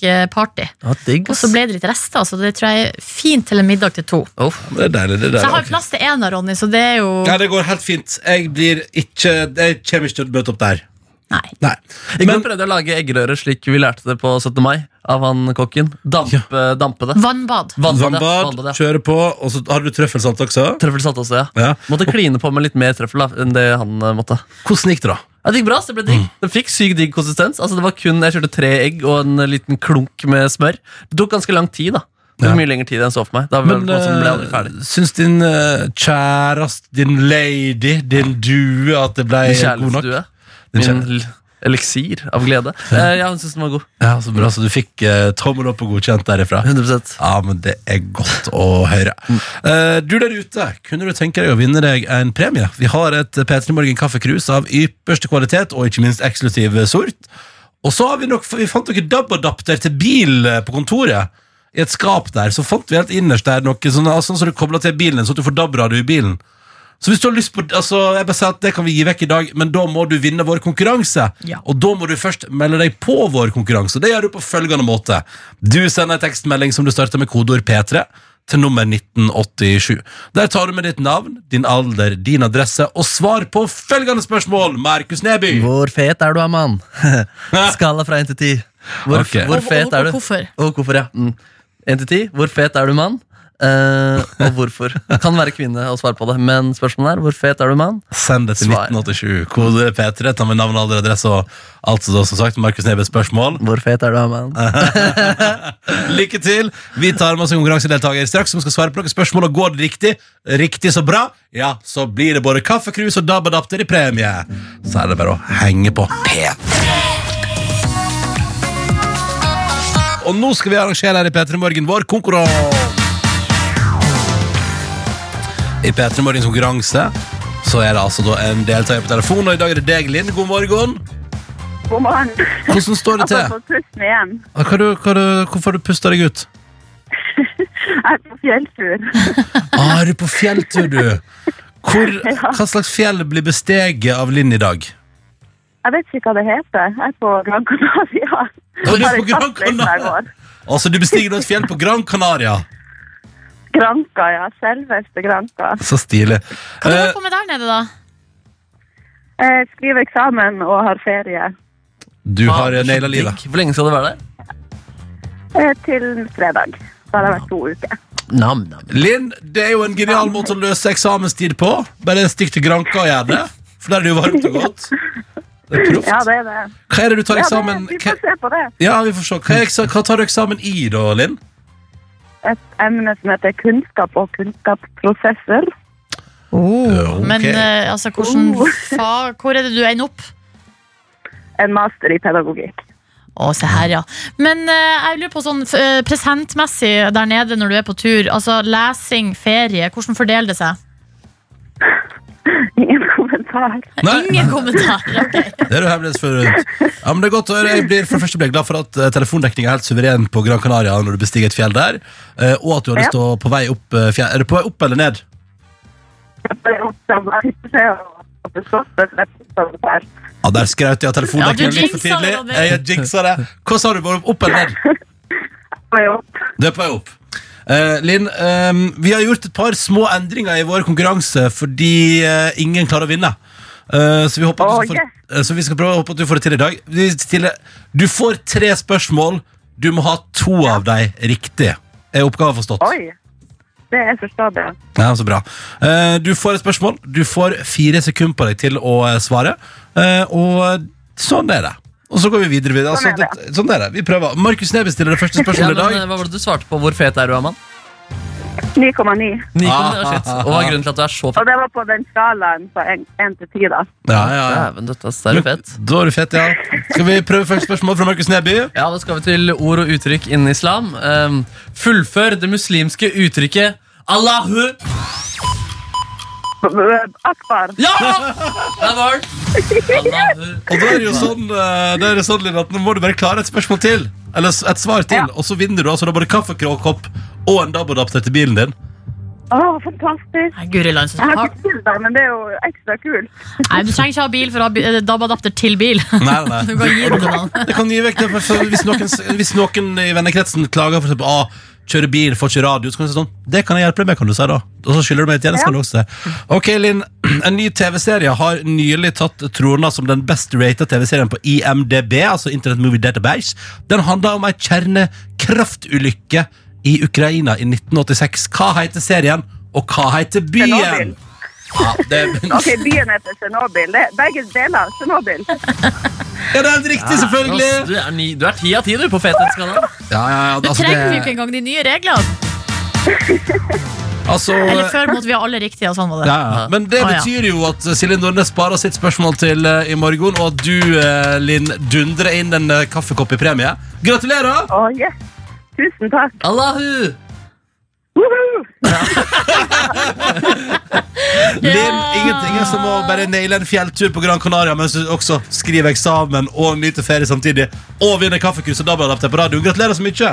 rekeparty. Ja, digg, Og så ble det litt rester, så det tror jeg er fint til en middag til to. Det er deilig. det er Så jeg deilig. har plass til én av Ronny, så det er jo Ja, det går helt fint. Jeg blir ikke Jeg kommer ikke til å møte opp der. Nei. Nei. I går Men prøvde jeg å lage eggerøre slik vi lærte det på 17. mai av han kokken. eh, Dampe, dampe det. Vannbad. Vannbad. vannbad, vannbad ja. kjøre på, og så har du trøffelsalt også. Trøffelsalt også, ja. Ja. Måtte kline på med litt mer trøffel da, enn det han eh, måtte. Hvordan gikk det, da? Ja, det gikk bra, så det ble Mm. digg. Det fikk sykt digg konsistens. Altså, det var kun, Jeg kjørte tre egg og en liten klunk med smør. Det tok ganske lang tid, da. Det Ja. var Mye lengre tid enn jeg så for meg. Da var det Men på en måte som ble eh, aldri ferdig. syns din eh, kjærest, din lady, din due at det ble Min god nok? kjærlighetsdue. Din Min l- eliksir av glede. Eh, ja, hun syntes den var god. Ja, så bra, så du fikk eh, tommel opp og godkjent derifra. 100 Ja, men det er godt å høre. Eh, du der ute, kunne du tenke deg å vinne deg en premie? Vi har et P3 Morgen kaffekrus av ypperste kvalitet og ikke minst eksklusiv sort. Og så har vi nok, vi fant noen DAB-adapter til bil eh, på kontoret. I et skap der, så fant vi helt innerst der noe sånn altså, sånn som du kobler til bilen, sånn at du får DAB-radio i bilen. Så hvis du har lyst på, altså jeg bare sier at det kan vi gi vekk i dag, men da må du vinne vår konkurranse. Ja. Og da må du først melde deg på vår konkurranse. Det gjør du på følgende måte. Du sender en tekstmelding som du starter med kodeord P3 til nummer 1987. Der tar du med ditt navn, din alder, din adresse og svar på følgende spørsmål, Markus Neby. Hvor fet er du, Aman? Skala fra 1 til 10. Hvor, Ok. hvor Og- fet og- er og du? hvorfor? Og hvorfor, ja. Mm. 1 til 10. Hvor fet er du, mann? Eh, og hvorfor? Kan være kvinne og svare på det, men spørsmålet er hvor fet er du, mann? (laughs) Send det til Svar. 1987. Kode P3, ta med navn, alder, adresse og alt som da, som sagt, Markus Nebys spørsmål. Hvor fet er du, Aman? Eh, (laughs) Lykke til! Vi tar med oss en konkurransedeltaker straks som skal svare på noen spørsmål. Og går det riktig, riktig så bra, ja, så blir det både kaffekrus og DAB-adapter i premie. Så er det bare å henge på. Og nå skal vi arrangere her i P3 Morgen vår konkurranse. I P3 Morgens konkurranse så er det altså da en deltaker på telefon, og i dag er det deg, Linn. God morgen. God morgen. Hvordan står det Jeg har til? fått pusten igjen. Hva du, hva du, hvorfor har du pusta deg ut? Jeg er på fjelltur. Ah, er du på fjelltur, du? (laughs) Hvor, hva slags fjell blir besteget av Linn i dag? Jeg vet ikke hva det heter. Jeg er på Gran Canaria. du er Jeg har på en Gran kastreis Canaria? hver vår. Altså, Du bestiger nå et fjell på Gran Canaria. Granca, ja. Selveste Granca. Så stilig. Hva holder Eh, du på med der nede, da? Jeg skriver eksamen og har ferie du har Ah, naila livet. Hvor lenge skal du være der? eh, til fredag. Da har jeg vært to uker. Nam, nam. Linn, det er jo en genial måte å løse eksamenstid på. Bare stikk til Granca og gjør det. For der er det jo varmt og godt. Det er Ja, proft. det er det. Hva er det du tar Ja, eksamen det vi hva, får se på det. Ja, vi får se. Hva, er eksa, hva tar du eksamen i, da, Linn? Et emne som heter kunnskap og kunnskapsprosesser. Oh, Men eh, altså, hvordan Oh. (laughs) fag Hvor er det du ender opp? En master i pedagogikk. Å, se her, ja. Men eh, jeg lurer på sånn f- eh, presentmessig der nede når du er på tur. Altså lesing, ferie. Hvordan fordeler det seg? Ingen kommentar. Nei. (laughs) Ingen kommentarer. ok. Det er du hemmelighetsfull rundt. Ja, men det er godt å høre. Jeg blir for det første ble jeg glad for at eh, telefondekningen er helt suveren på Gran Canaria når du bestiger et fjell der, eh, og at du har lyst til å på vei opp eh, fjell. Er du på vei opp eller ned? Jeg bare oppdager at jeg ikke ser å forstå det, for jeg forstår det her. Ja, der skraut jeg av Ja, telefondekningen du litt for jinxa det, tidlig. Ronny. Jeg jinxa det. Hva sa du? Var du opp eller ned? Jeg er jo Du er på vei opp. Eh, Linn, ehm, vi har gjort et par små endringer i vår konkurranse fordi eh, ingen klarer å vinne. Eh, så, vi håper at du skal Åh, få, eh, så vi skal prøve å håpe at du får det til i dag. Vi stiller, du får tre spørsmål. Du må ha to av dem riktig. Er oppgaven forstått? Oi! Det er forståelig. Ja, så bra. Eh, Du får et spørsmål. Du får fire sekunder på deg til å eh, svare. Eh, Og sånn er det. Og så går vi videre. videre. Altså, Sånn er det- sånn er det. Vi prøver. Markus Neby stiller det første Ja, spørsmålet i men, eh, dag. hva var det du svarte på? Hvor fet er du, Aman? 9,9. Nikon, Ah, det var ah, shit. ah, Og hva er grunnen til at du er så Og fet? det var på den skalaen på 1 til 10, da. Ja, ja, ja. Dæven, dette er så fet. Da er du fett, ja. Skal vi prøve første spørsmål fra Markus Neby? Ja, Da skal vi til ord og uttrykk innen islam. Um, fullfør det muslimske uttrykket Allahu Akbar. Ja! Der var den. Og da er det jo sånn, eh, da er det sånn Linn, at nå må du bare klare et spørsmål til. Eller s- et svar til, Ja. og så vinner du altså da både kaffekråkopp og en DAB-adapter til bilen din. Å, fantastisk. Nei, Guri land, så Jeg har smart. ikke bil der, men det er jo ekstra kult. Nei, du trenger ikke ha bil for å ha bi- eh, DAB-adapter til (laughs) bil. Nei, (laughs) nei, nei. Du kan gi det til noen. Jeg kan gi vekk det, for så hvis, noen, hvis noen i vennekretsen klager for eksempel, ah, kjører bil, får ikke radio, så kan du si sånn, det kan jeg hjelpe deg med, kan du si da. Og så skylder du meg et tjeneste, kan du også si. Ok, Linn, (clears throat) en ny TV-serie har nylig tatt trona som den best rated TV-serien på IMDb, altså Internet Movie Database. Den handler om en kjernekraftulykke i Ukraina i 1986. Hva heter serien, og hva heter byen? Tsjernobyl. Ja, det, Ok, byen heter Tsjernobyl. Det er Begge deler Tsjernobyl. (laughs) ja, det er helt riktig, selvfølgelig! Du er, ni, du er ti av ti, du, på fethetskanalen. Ja, ja, ja, Du altså, trenger jo det- ikke engang de nye reglene. altså, Eller før måtte vi ha alle riktige, og sånn var det. Ja, ja. Men det Å, ja. betyr jo at Silje Nordnes sparer sitt spørsmål til eh, i morgen, og at du, eh, Linn, dundrer inn en eh, kaffekopp i premie. Gratulerer! Å, yes. Tusen takk. Allahu! Woohoo! (laughs) Linn, ingenting altså. er som å bare naile en fjelltur på Gran Canaria mens du også skriver eksamen og nyter ferie samtidig, og vinner kaffekurs og dabbeladapter på radioen. Gratulerer så mye! Ja.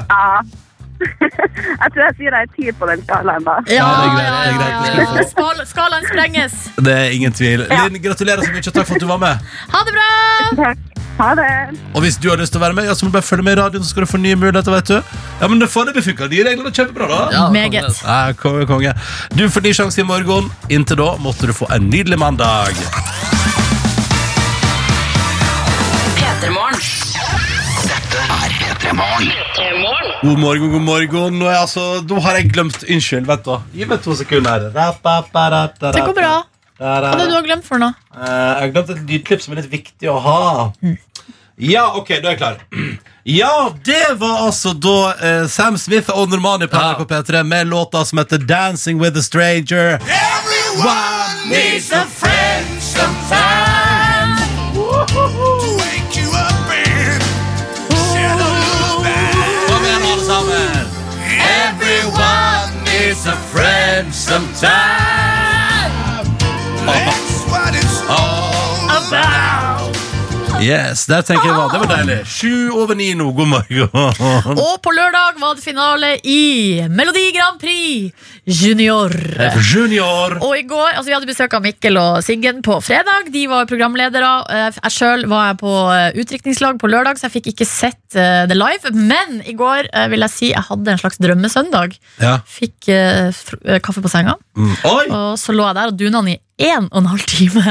Jeg tror jeg sier jeg er ti på den skalaen, da. Ja, Ja, det ja, er greit, det er ja. greit. ja, ja. Skal- Skalaen sprenges. Det er ingen tvil. Linn, gratulerer så mye, og takk for at du var med. Ha det bra! Takk. Ha det. Og hvis du har lyst til å være med, ja, så må du bare følge med i radioen, så skal du få nye muligheter, vet du. Ja, men det foreløpig funker. De reglene er kjempebra, da. Ja, altså. Meget. kongen. Nei, Ah, konge, konge. Du får ny sjanse i morgen. Inntil da måtte du få en nydelig mandag. Petermorgen. God morgen, god morgen. Nå, er jeg altså, nå har jeg glemt Unnskyld, vent da. Gi meg to sekunder. Det Det går bra. Hva er det du har glemt for noe? Eh, Jeg har glemt et lydklipp som er litt viktig å ha. Ja, OK, da er jeg klar. Ja, det var altså da eh, Sam Smith og Normani på Ja. NRK P3 med låta som heter 'Dancing with a Stranger'. Everyone needs a Kom igjen, alle sammen! Everyone needs a friend sometime. Yes, der tenker jeg hva. Det var deilig. Sju over ni nå. God morgen. Og på lørdag var det finale i Melodi Grand Prix Junior. Junior. Og i går, altså Vi hadde besøk av Mikkel og Siggen på fredag. De var programledere. Eh, Jeg sjøl var jeg på eh, utdrikningslag på lørdag, så jeg fikk ikke sett eh, det live. Men i går eh, vil jeg si jeg hadde en slags drømmesøndag. Ja. Fikk eh, fr- eh, kaffe på senga, Mm. Oi! og så lå jeg der og duna den i én og en halv time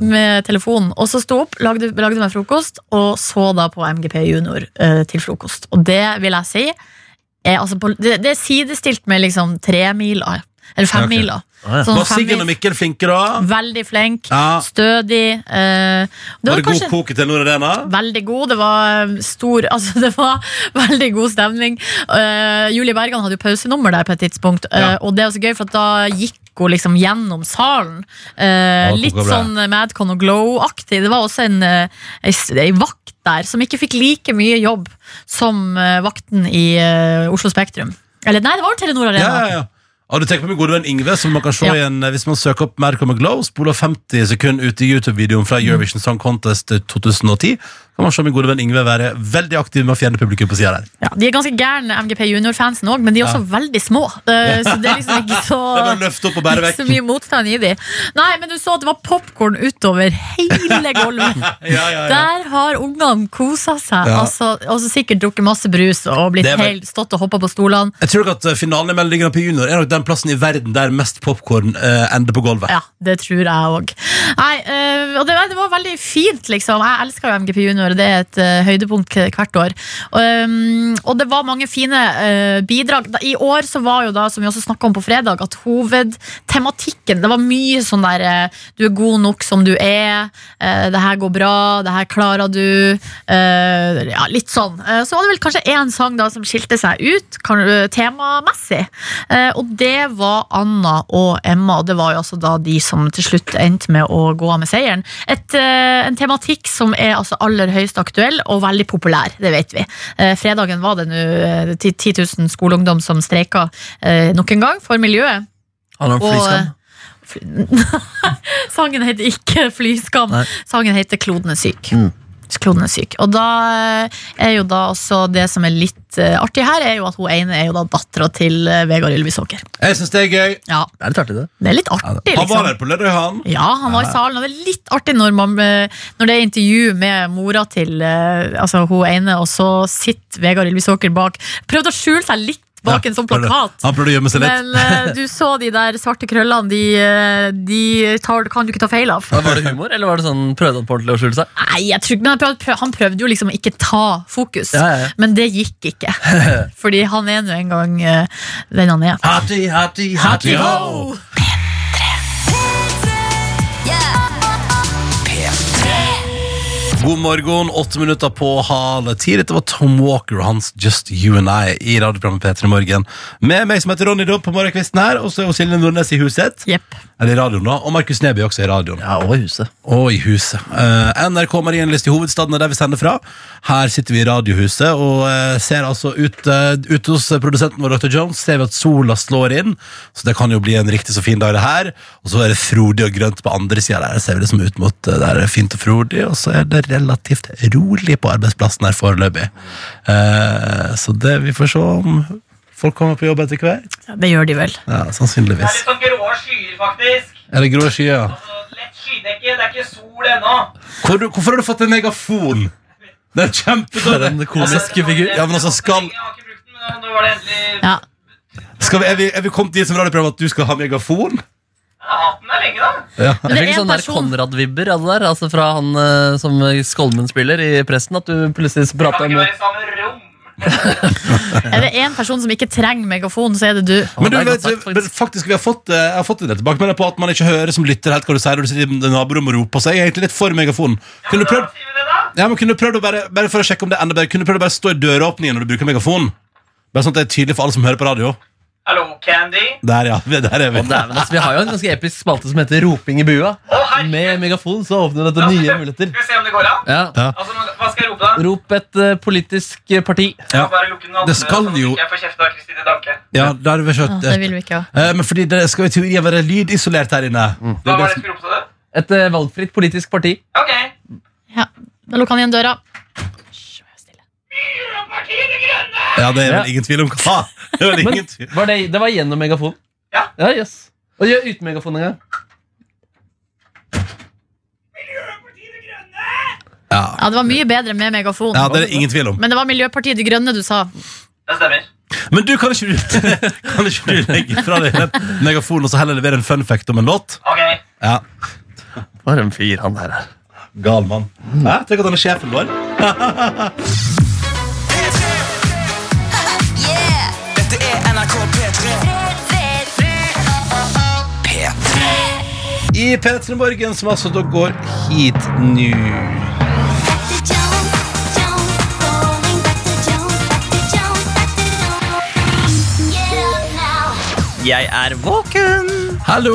med telefonen. Og så sto jeg opp, lagde, lagde meg frokost, og så da på MGP Junior eh, til frokost. Og det vil jeg si er, altså på, det, det er sidestilt med liksom tremiler. Eller Ja, ok. femmila. Å, ja. Sånn Var Siggen femmil- og Mikkel flinke, da? Veldig flink, Ja. stødig. eh, Var det var det god kanskje koke til Nord Arena? veldig god. Det var eh, stor (laughs) Altså, det var veldig god stemning. Eh, Julie Bergan hadde jo pausenummer der på et tidspunkt, eh, Ja. og det var så gøy, for at da gikk hun liksom gjennom salen. Eh, Ja, det litt koker bra. sånn eh, Madcon og Glow-aktig. Det var også en, eh, ei s- ei vakt der som ikke fikk like mye jobb som eh, vakten i eh, Oslo Spektrum. Eller nei, det var Telenor Arena. Ja, ja, ja. Og du tenker på min gode venn Ingve, som man kan se Ja. igjen eh, hvis man søker opp Madcom Glow. Spoler 50 sekunder ut i YouTube-videoen fra Eurovision Song Contest eh, 2010. Kan man se min gode venn Ingve være veldig aktiv med å fjerne publikum på sida der. Ja, de er ganske gærne MGP Junior-fansen òg, men de er også veldig små. Eh, Så det er (laughs) liksom ikke så Det er bare å løfte opp og bære ikke vekk. så mye motstand i de. Nei, men du så at det var popkorn utover hele gulvet. (laughs) Ja, ja, ja. Der har ungene kosa seg. Ja. Altså, og så sikkert drukket masse brus og blitt Det er vel- helt, stått og hoppa på stolene. Jeg tror nok at eh, finalen i Melodi Grand Prix Junior er nok den plassen i verden der mest popkorn ender på gulvet. Ja, det tror jeg òg. Nei, eh, og det, var- det var veldig fint, liksom. Jeg elsker jo MGP Junior, det er et eh, høydepunkt hvert år. Og, um, og det var mange fine eh, bidrag. Da- I år så var jo da, som vi også snakka om på fredag, at hovedtematikken Det var mye sånn der eh, Du er god nok som du er. eh, det her går bra. Det her klarer du. eh, ja, litt sånn. Eh, så var det vel kanskje én sang da som skilte seg ut kan, eh, temamessig. Eh, og det var Anna og Emma, og det var jo altså da de som til slutt endte med å gå av med seieren. Et, eh, en tematikk som er altså aller høyest aktuell og veldig populær, det vet vi. Eh, fredagen var det nå eh, 10 000 skoleungdom som streika eh, nok en gang for miljøet. Han har en Og, flyskam. (laughs) Sangen heter ikke 'Flyskam'. Nei. Sangen heter 'Kloden er syk'. Mm. Kloden er syk. Og da eh, er jo da også det som er litt eh, artig her, er jo at hun ene er jo da dattera til eh, Vegard Ylvisåker. Jeg syns det er gøy. Ja, Det er litt artig, det. det er litt artig, Han var liksom. der på lørdag, han. Ja, han var i salen, og det er litt artig når, man, eh, når det er intervju med mora til eh, altså, hun ene, og så sitter Vegard Ylvisåker bak. Prøvde å skjule seg litt bak Ja, en sånn prøvde- plakat. Han prøvde å gjemme seg litt. Men eh, du så de der svarte krøllene, de, eh, de tar, kan du ikke ta feil av. Ja, Var det humor, eller var det sånn prøvde han på ordentlig å skjule seg? Nei, jeg tror ikke, men han prøvde, han prøvde jo liksom å ikke ta fokus, Ja, ja, ja. men det gikk ikke. Fordi han er nå en gang eh, den han er. Hatty, hatty, hatty, ho! God morgen, åtte minutter på halv ti. Dette var Tom Walker og hans Just You and I i radioprogrammet P3 Morgen. Med meg som heter Ronny Dobb på morgenkvisten her, og så er jo Silje Nordnes i huset. Jepp. Eller i radioen, da. Og Markus Neby også i radioen. Ja, og i huset. Og i huset. Eh, NRK Marienlyst i hovedstaden er der vi sender fra. Her sitter vi i Radiohuset og eh, ser altså ut eh, ute hos produsenten vår, Dr. Jones, ser vi at sola slår inn. Så det kan jo bli en riktig så fin dag, det her. Og så er det frodig og grønt på andre sida der. Ser vi liksom ut mot eh, der er det fint og frodig, og så er det relativt rolig på arbeidsplassen her foreløpig. Eh, så det vi får se om folk kommer på jobb etter hvert. Det gjør de vel. Ja, Det er sannsynligvis. litt sånn grå skyer, faktisk. Er det grå skyer? Altså, lett skydekke. Det er ikke sol ennå. Hvor, du- hvorfor har du fått en megafon? Det er For kjempedårlig. en komisk figur. Ja, men altså, skal- Jeg har ikke brukt den, men nå var det endelig Ja. Skal vi, er, vi, er vi kommet dit som radioprogram at du skal ha megafon? Jeg har hatt den der lenge, da. Men Jeg det er fikk en sånn der person Konrad-vibber av det der, altså fra han eh, som Skolmen spiller i Presten, at du plutselig Kan prater ikke om være i samme rom. Er det en person som ikke trenger megafon, så er det du. Ja, Men du det er vet, godt sagt, men faktisk, vi har fått, eh, jeg har fått en del tilbakemeldinger på at man ikke hører som lytter helt hva du sier når du sitter i naborommet og roper. Så jeg er egentlig litt for megafonen. Kunne du prøvd, Sier vi det, da? ja, men kunne du prøvd å bare, bare for å sjekke om det er enda bedre, kunne du prøvd å bare stå i døråpningen når du bruker megafon? Bare sånn at det er tydelig for alle som hører på radio. Hallo, Candy. Der, ja. (laughs) vi- Der er vi. Dæven, altså, vi har jo en ganske episk spalte som heter Roping i bua. Med megafon så åpner dette nye muligheter. Skal vi se om det går an? Ja. Ja. Altså, hva skal jeg rope, da? Rop et eh, politisk eh, parti. Ja. Bare lukke den andre, Det skal sånn at jo- ikke Jeg får kjeft av Kristine Danke. Ja, der er vi Ja, kjøtt. det vil vi ikke ha. Eh, Men fordi det skal i teorien være lydisolert her inne. Det Hva er Mm. var det det jeg som, skulle rope til det? Et eh, valgfritt politisk parti. Ok. Ja. Da lukker han igjen døra. Hysj, vær stille. Partiet De Grønne! ja, det er vel Ja. ingen tvil om (laughs) hva. Det er vel Men ingen tvil. var det, det var gjennom megafon. Ja. ja yes. Og gjør uten megafon en gang. Partiet De Grønne! Ja. Ja, det var mye bedre med megafon. ja, det er det ingen tvil om. Men det var Miljøpartiet De Grønne du sa. Det stemmer. Men du, kan ikke du, (laughs) kan ikke du legge fra deg den megafonen og så heller levere en fun fact om en låt? Ok. Ja, For en fyr han der er. Gal mann. Hæ? Tenk at han er sjefen vår. Yeah. I P3 Morgen, som altså da går hit nå. Jeg er våken. Hallo!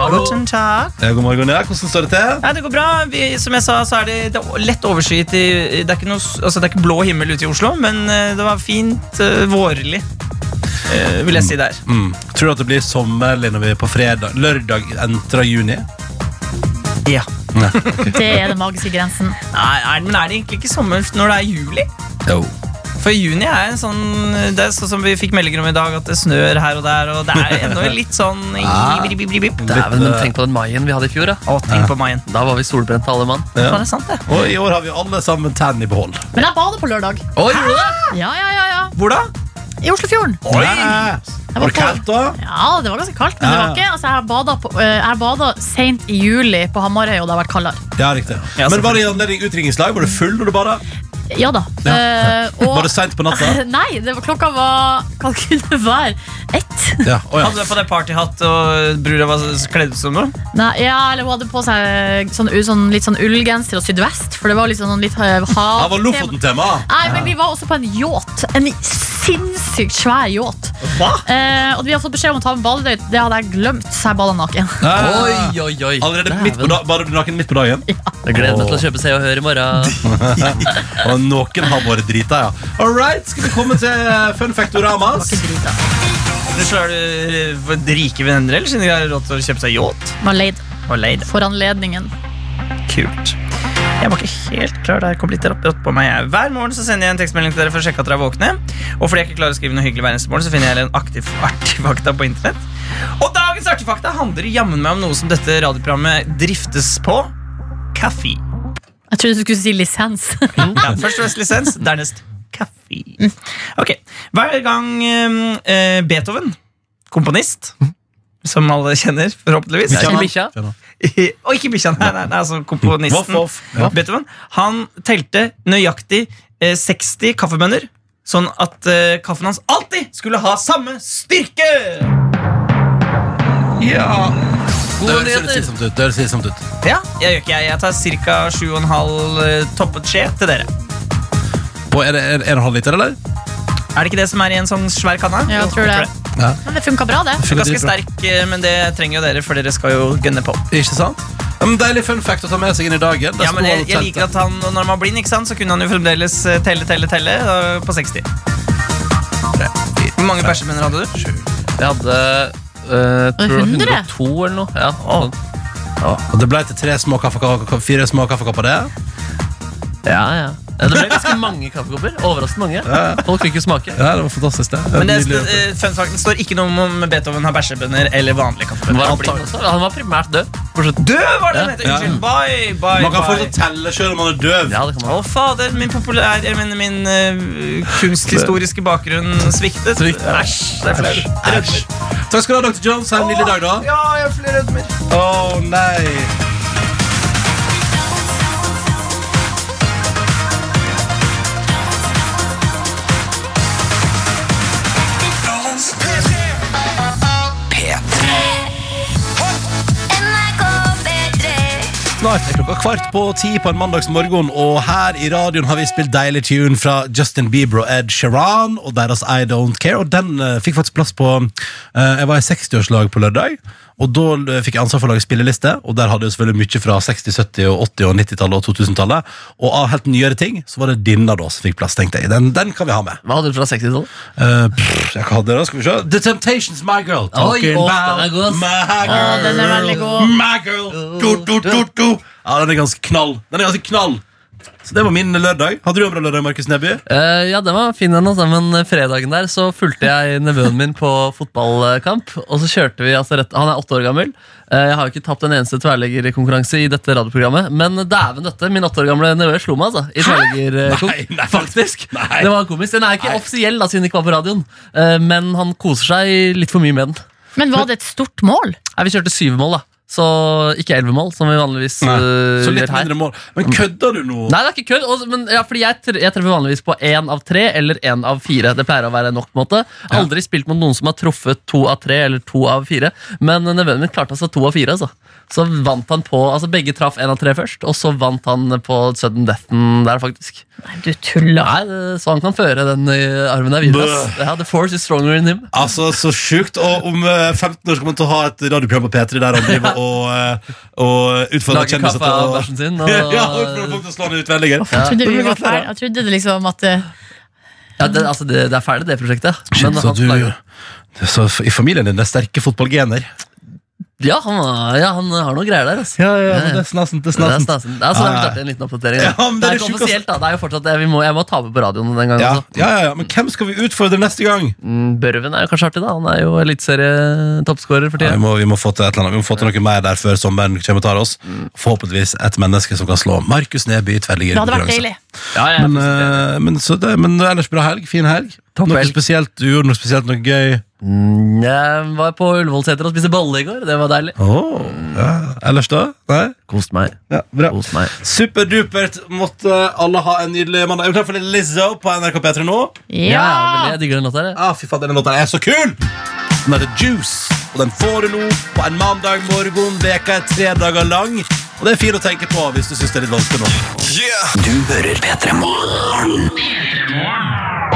Hallo. Guten Tag. Ja, God morgen, ja. Hvordan står det til? Nei, det går bra. Vi, som jeg sa, så er det, det er lett overskyet. i- Det er, ikke noe, s- altså, det er ikke blå himmel ute i Oslo, men eh, det var fint eh, vårlig, eh, vil jeg si der. Mm. Tror du at det blir sommer eller når vi er på fredag? Lørdag entrer juni? Mm. Ja. Det er den magiske grensen. Nei, er, men er det egentlig ikke sommer når det er juli? Jo. For juni er en sånn Det er sånn som vi fikk meldinger om i dag, at det snør her og der, og det er ennå litt sånn (laughs) Ah. bip, bip, bip, bip. Dæven, men tenk på den maien vi hadde i fjor. Da, Å, tenk på maien. da var vi solbrente alle mann. Ja. Det er sant, det. Og i år har vi alle sammen tenn i behold. Men jeg bader på lørdag. Ja, ja, ja, ja. Hvor da? I Oslofjorden. Oi! var Var det kaldt da? Ja, det var ganske kaldt, men det Ja, var ja. ikke altså, Jeg bada, på, eh, jeg bada sent i juli på Hamarøy, og det har vært kaldere. Ja, riktig. Ja, Men var det i anledning utringningslag? Var du full når du bada? Ja da. Eh, og, (laughs) Var det seint på natta? Nei, det var, klokka var Hva kunne det være? Ett? Ja, å ja. Hadde du på deg partyhatt, og brura var s- kledd ut som noe? Nei, ja, eller hun hadde på seg sånn, u- sånn, litt sånn ullgenser og sydvest, for det var liksom sånn litt (laughs) eh, hav... Det var Lofoten-tema. Nei, men vi var også på en yacht. En sinnssykt svær yacht. Hva? Eh, og vi har fått beskjed om å ta med badedøyt. Det hadde jeg glemt, så jeg bada naken. Oi, oi, oi. Allerede midt på Dæven. da- bader du naken midt på dagen? Jeg gleder meg til å kjøpe Se og Hør i morgen. Og noen har vært drita, ja. All right, skal vi komme til eh, fun factoramas? Det var ikke drit, da. Men så er du eh, rike venner, eller siden de har råd til å kjøpe seg yacht? Man leid Og leid. for anledningen. Kult. Jeg var ikke helt klar der. Kom litt rått på meg. jeg. Hver morgen så sender jeg en tekstmelding til dere for å sjekke at dere er våkne. Og fordi jeg ikke klarer å skrive noe hyggelig hver eneste morgen, så finner jeg en aktiv artefakta på internett. Og dagens artefakta handler jammen meg om noe som dette radioprogrammet driftes på. Kaffe. Jeg trodde du skulle si lisens. Ja, først og fremst lisens, dernest kaffe. Ok, Hver gang eh, Beethoven, komponist, som alle kjenner, forhåpentligvis Ikke han- bikkja. (laughs) og ikke bikkja, nei, nei, nei, altså komponisten. Voff, voff. Ja. Beethoven. Han telte nøyaktig eh, 60 kaffebønner, sånn at eh, kaffen hans alltid skulle ha samme styrke! Ja Det Gode høres litt nyheter. slitsomt ut. Det høres slitsomt ut. Ja, jeg gjør ikke jeg. Jeg tar ca. 7,5 eh, toppet skje til dere. På, er det er, er det halv liter, eller? Er det ikke det som er i en sånn svær kanne? Ja, jeg tror det. Men det funka bra, det. Ganske sterk, eh, men det trenger jo dere, for dere skal jo gønne på. Ikke sant? Ja, men deilig fun fact å ta med seg inn i dagen. Ja, men jeg, jeg liker at han, og Når man blir ikke sant, så kunne han jo fremdeles eh, telle, telle, telle eh, på 60. Hvor mange bæsjebønner hadde du? Jeg hadde eh, tror det var 100? 102 eller noe. Ja, sånn. Og det ble til tre små kaffekopper, fire små kaffekopper det. ja, ja. Ja, Det ble ganske mange kaffekopper. Overraskende mange. Folk fikk jo smake. Ja, det var fantastisk, det. Men det, Nydelig. eh, fun facten står ikke noe om om Beethoven har bæsjebønner eller vanlige Var han, blind kaffebønner. også? han var primært død. På slutten. Død var det Ja. den heter! Unnskyld. Bye, bye, man kan fortsatt bye. telle selv om man er døv. Ja, det kan Å, man. fader, min populær... Jeg mener, min eh, kunsthistoriske bakgrunn sviktet. Svikt. Æsj, det er flaut. Æsj. Takk skal du ha, Dr. Jones. Ha en nydelig dag, da. Ja, jeg har flere rødmer. Å, nei. NRK P3 Snart er klokka kvart på ti på en mandagsmorgen, og her i radioen har vi spilt deilig tune fra Justin Bieber og Ed Sheeran og deres I Don't Care. Og den eh, fikk faktisk plass på eh, Jeg var i 60-årslag på lørdag, og da eh, fikk jeg ansvar for å lage spilleliste. Og der hadde jeg selvfølgelig mye fra 60-, 70-, og 80- og 90-tallet og 2000-tallet. Og av helt nyere ting så var det denne da som fikk plass, tenkte jeg. Den, den kan vi ha med. Hva hadde du fra 60-tallet? Eh, pff, jeg hadde det, skal vi se. The Temptations, my girl. Talking å, about den er god, ass. my girl. Å, den er veldig god. My girl. Du, du, du, du. Ja, den er ganske knall. Den er ganske knall. Så det var min lørdag. Hadde du en bra lørdag, Markus Neby? Eh, ja, den var fin den også, men fredagen der så fulgte jeg nevøen min på fotballkamp. Og så kjørte vi, altså rett, Han er åtte år gammel. Eh, jeg har jo ikke tapt en eneste tverrleggerkonkurranse i dette radioprogrammet. Men dæven døtte, min åtte år gamle nevø slo meg altså, i Nei, nei. tverrleggerkonk. Faktisk. Nei. Det var komisk. Den er ikke offisiell, da, siden den ikke var på radioen. Eh, men han koser seg litt for mye med den. Men var det et stort mål? Nei, vi kjørte syv mål, da. Så ikke elleve mål, som vi vanligvis Nei. eh, Så litt gjør her. mindre mål. Men kødder du nå? Nei, det er ikke kødd. og- Men, ja, fordi jeg, tr- jeg treffer vanligvis på én av tre eller én av fire. Det pleier å være nok. på en måte Jeg har Aldri spilt mot noen som har truffet to av tre eller to av fire. Men nevøen min klarte altså to av fire. Altså. Så vant han på Altså Begge traff én av tre først, og så vant han på sudden deathen der, faktisk. Nei, du tuller. Nei, det- Så han kan føre den eh, arven der videre. ass. Ja, the force is stronger in him. Altså, Så sjukt. Og om eh, 15 år skal man til å ha et radioprogram på P3 der han driver og, eh, og utfordrer Lager kjendiser kaffe av til å bæsjen sin. Og, (laughs) ja, for å få dem til å slå ned utvendinger. Jeg trodde, vi var ferdig. jeg trodde det liksom at det, ja, det, altså, det, det er ferdig, det prosjektet. Men Så, han lager- i familien din er sterke fotballgener. ja, han, ja, han har noe greier der. Altså. Ja, ja, men det er snasen til Det er snasen. stasen. Det er sånn Ja, ja. klart en liten oppdatering. da. Ja, men det det er er ikke det sjukeste. offisielt, da. Det er jo fortsatt, jeg, vi må, jeg må ta med på radioen den gangen. Ja, også. ja, ja, ja. Men hvem skal vi utfordre neste gang? Mm, Børven er jo kanskje artig, da. Han er jo eliteserietoppskårer for Ja, tida. vi, må, vi, må få til et eller annet. vi må få til noe mer der før sommeren kommer og tar oss. Forhåpentligvis et menneske som kan slå Markus Neby i det hadde vært tverrliggerkonkurranse. deilig. Ja, ja, Men, eh, men, så det- men ellers bra helg. Fin helg. Noe vel. spesielt, du gjorde noe spesielt, noe gøy. Mm, jeg var på Ullevålseter og spiste bolle i går. Det var deilig. Åh, ja. Ellers da? Nei? Kost meg. Ja, bra. Kost meg. Superdupert. Måtte alle ha en nydelig mandag. Er du klar for litt Lizzo på NRK P3 nå? Ja, Ja! veldig. Jeg digger den låta. jeg. Ah, fy faen, denne låten er så kul! Den heter Juice, og den får du nå på en mandag morgen. Veka er tre dager lang, og det er fint å tenke på hvis du syns det er litt vanskelig nå. Du hører P3 Morgen.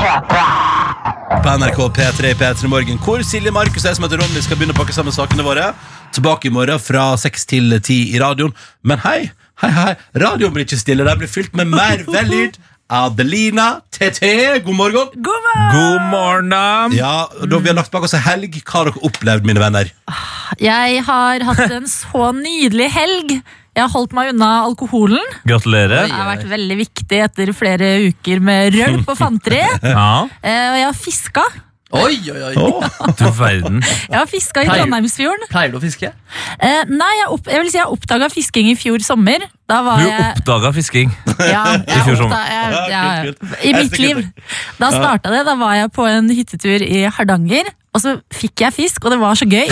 på NRK P3 i P3 Morgen, hvor Silje Markus og jeg som heter Ronny skal begynne å pakke sammen sakene våre. Tilbake i morgen fra 6 til (laughs) 10 i radioen. Men hei, hei, hei, radioen blir ikke stille. Den blir fylt med mer vellyd Adelina TT. God morgen. God morgen, da. Ja, da Vi har lagt bak oss en helg. Hva har dere opplevd, mine venner? Jeg har hatt en så nydelig helg. Jeg har holdt meg unna alkoholen. Gratulerer. Det har vært veldig viktig etter flere uker med rølp og fanteri. Ja, Eh, Og jeg har fiska. Oi, oi, oi. du verden. Jeg har fiska i Pleier- Trondheimsfjorden. Pleier du å fiske? Eh, Nei, jeg, opp, jeg vil si jeg oppdaga fisking i fjor sommer. Da var Du jeg oppdaga fisking. ja, (laughs) jeg fjor sommer. oppda- Ja, jeg, jeg, kult, kult. I Jeg mitt stikker liv. Da starta det. Da var jeg på en hyttetur i Hardanger, og så fikk jeg fisk, og det var så gøy.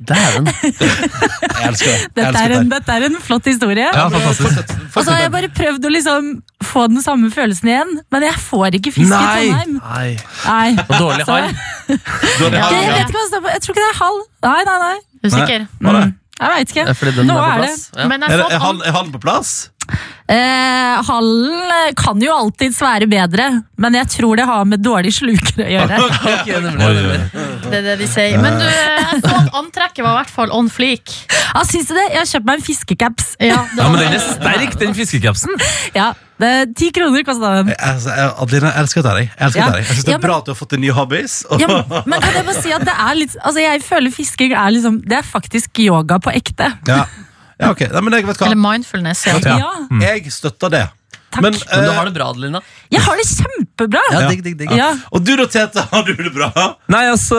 Dæven. Jeg elsker det. Jeg Dette elsker er det. en, dette er en flott historie. Ja, fantastisk. Og så har jeg bare prøvd å liksom få den samme følelsen igjen, men jeg får ikke fisk Nei. i Trondheim. Nei. Nei. Altså, Og dårlig Så- hall. Du hadde Jeg, helg, vet ikke hva det står på. jeg tror ikke det er halv. Nei, nei, nei. Usikker. var det? Jeg veit Det er ikke. eh, Fordi den er Nå er på det. plass. Ja. Men jeg Er, fant er, han, er han på plass? Eh, hallen eh, kan jo alltids være bedre, men jeg tror det har med dårlig sluker å (laughs) gjøre. (laughs) Ok, nemlig, Oi, nemlig. Det er det de sier. Men du, jeg så at antrekket var i hvert fall on fleak. Ja, syns du det? Jeg har kjøpt meg en fiskecaps. Ja, det Ja, var men den er sterk, den fiskekapsen. Ja, det- Ti kroner kosta den. Jeg- altså, jeg- Adelina, jeg elsker deg. Jeg elsker Ja. deg. Jeg synes det Ja, er men- bra at du har fått en ny hobbies. Og, Ja, men- men kan jeg bare si at det er litt Altså, jeg føler fisking er liksom Det er faktisk yoga på ekte. (laughs) ja. ja, ok. Nei, men jeg vet Eller hva. mindfulness. Ja. Ja. Jeg støtter det. Takk. Mm. Men, Men du eh, har det bra, Adelina. Jeg har det kjempebra! Ja, digg, digg, digg. Ja. og du da, Tete, har du det bra? Nei, altså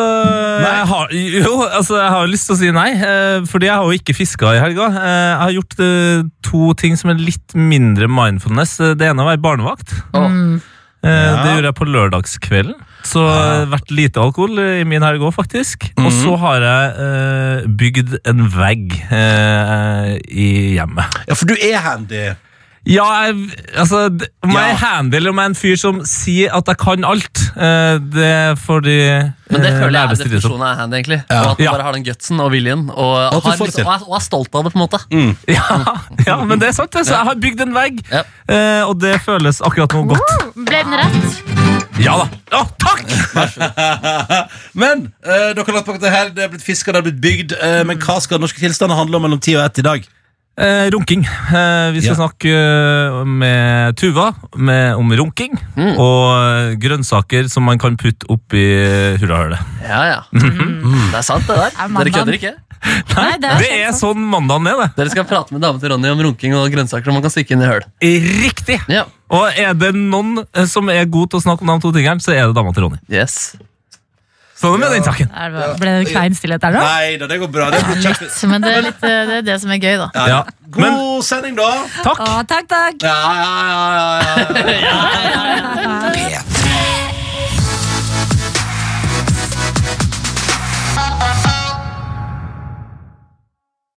Jeg har, Jo, altså, jeg har jo lyst til å si nei, eh, fordi jeg har jo ikke fiska i helga. Eh, Jeg har gjort eh, to ting som er litt mindre mindfulness. Eh, Det ene var ei barnevakt. Mm. Eh, Det gjorde jeg på lørdagskvelden. Så eh, vært lite alkohol eh, i min helg òg, faktisk. Og så har jeg eh, bygd en vegg eh, i hjemmet. Ja, for du er handy. Ja, jeg, altså d- Om jeg Ja. er handy eller om jeg er en fyr som sier at jeg kan alt, eh, det får de Men det eh, føler jeg er lærebestille som. definisjonen av handy, egentlig. Og at du Ja. bare har den gutsen og viljen, og, at du har, får det liksom, til. og, er, og er stolt av det, på en måte. Mm. (laughs) Ja, ja, men det er sant. det. Så jeg har bygd en vegg, Ja. eh, og det føles akkurat nå godt. Ble den rett? Ja da! Å, takk! (laughs) Men eh, dere har lagt bak det her. Det er blitt fiska, det har blitt bygd. eh, men hva skal norske tilstander handle om mellom ti og ett i dag? Eh, runking. Eh, vi skal Ja. snakke eh, med Tuva med, om runking og eh, grønnsaker som man kan putte oppi eh, hurrahølet. Ja, (laughs) ja. Det er sant, det der. Er mandagen- Dere kødder ikke. Nei, det Mm. Det er sånn mandagen er, det. Dere skal prate med dama til Ronny om runking og grønnsaker som man kan stikke inn i høl. Riktig! Ja, Og er det noen eh, som er god til å snakke om de to tingene, så er det dama til Ronny. yes. Sånn er det med den saken. (laughs) Er det- Ble det klein stillhet der nå? Nei da, det går bra. Det blir kjekt. Så, Men det er, litt, eh, det er det som er gøy, da. Ja. Ja. God sending, da. Takk. Å, takk, takk. Ja, ja, ja, ja, ja. Ja, ja,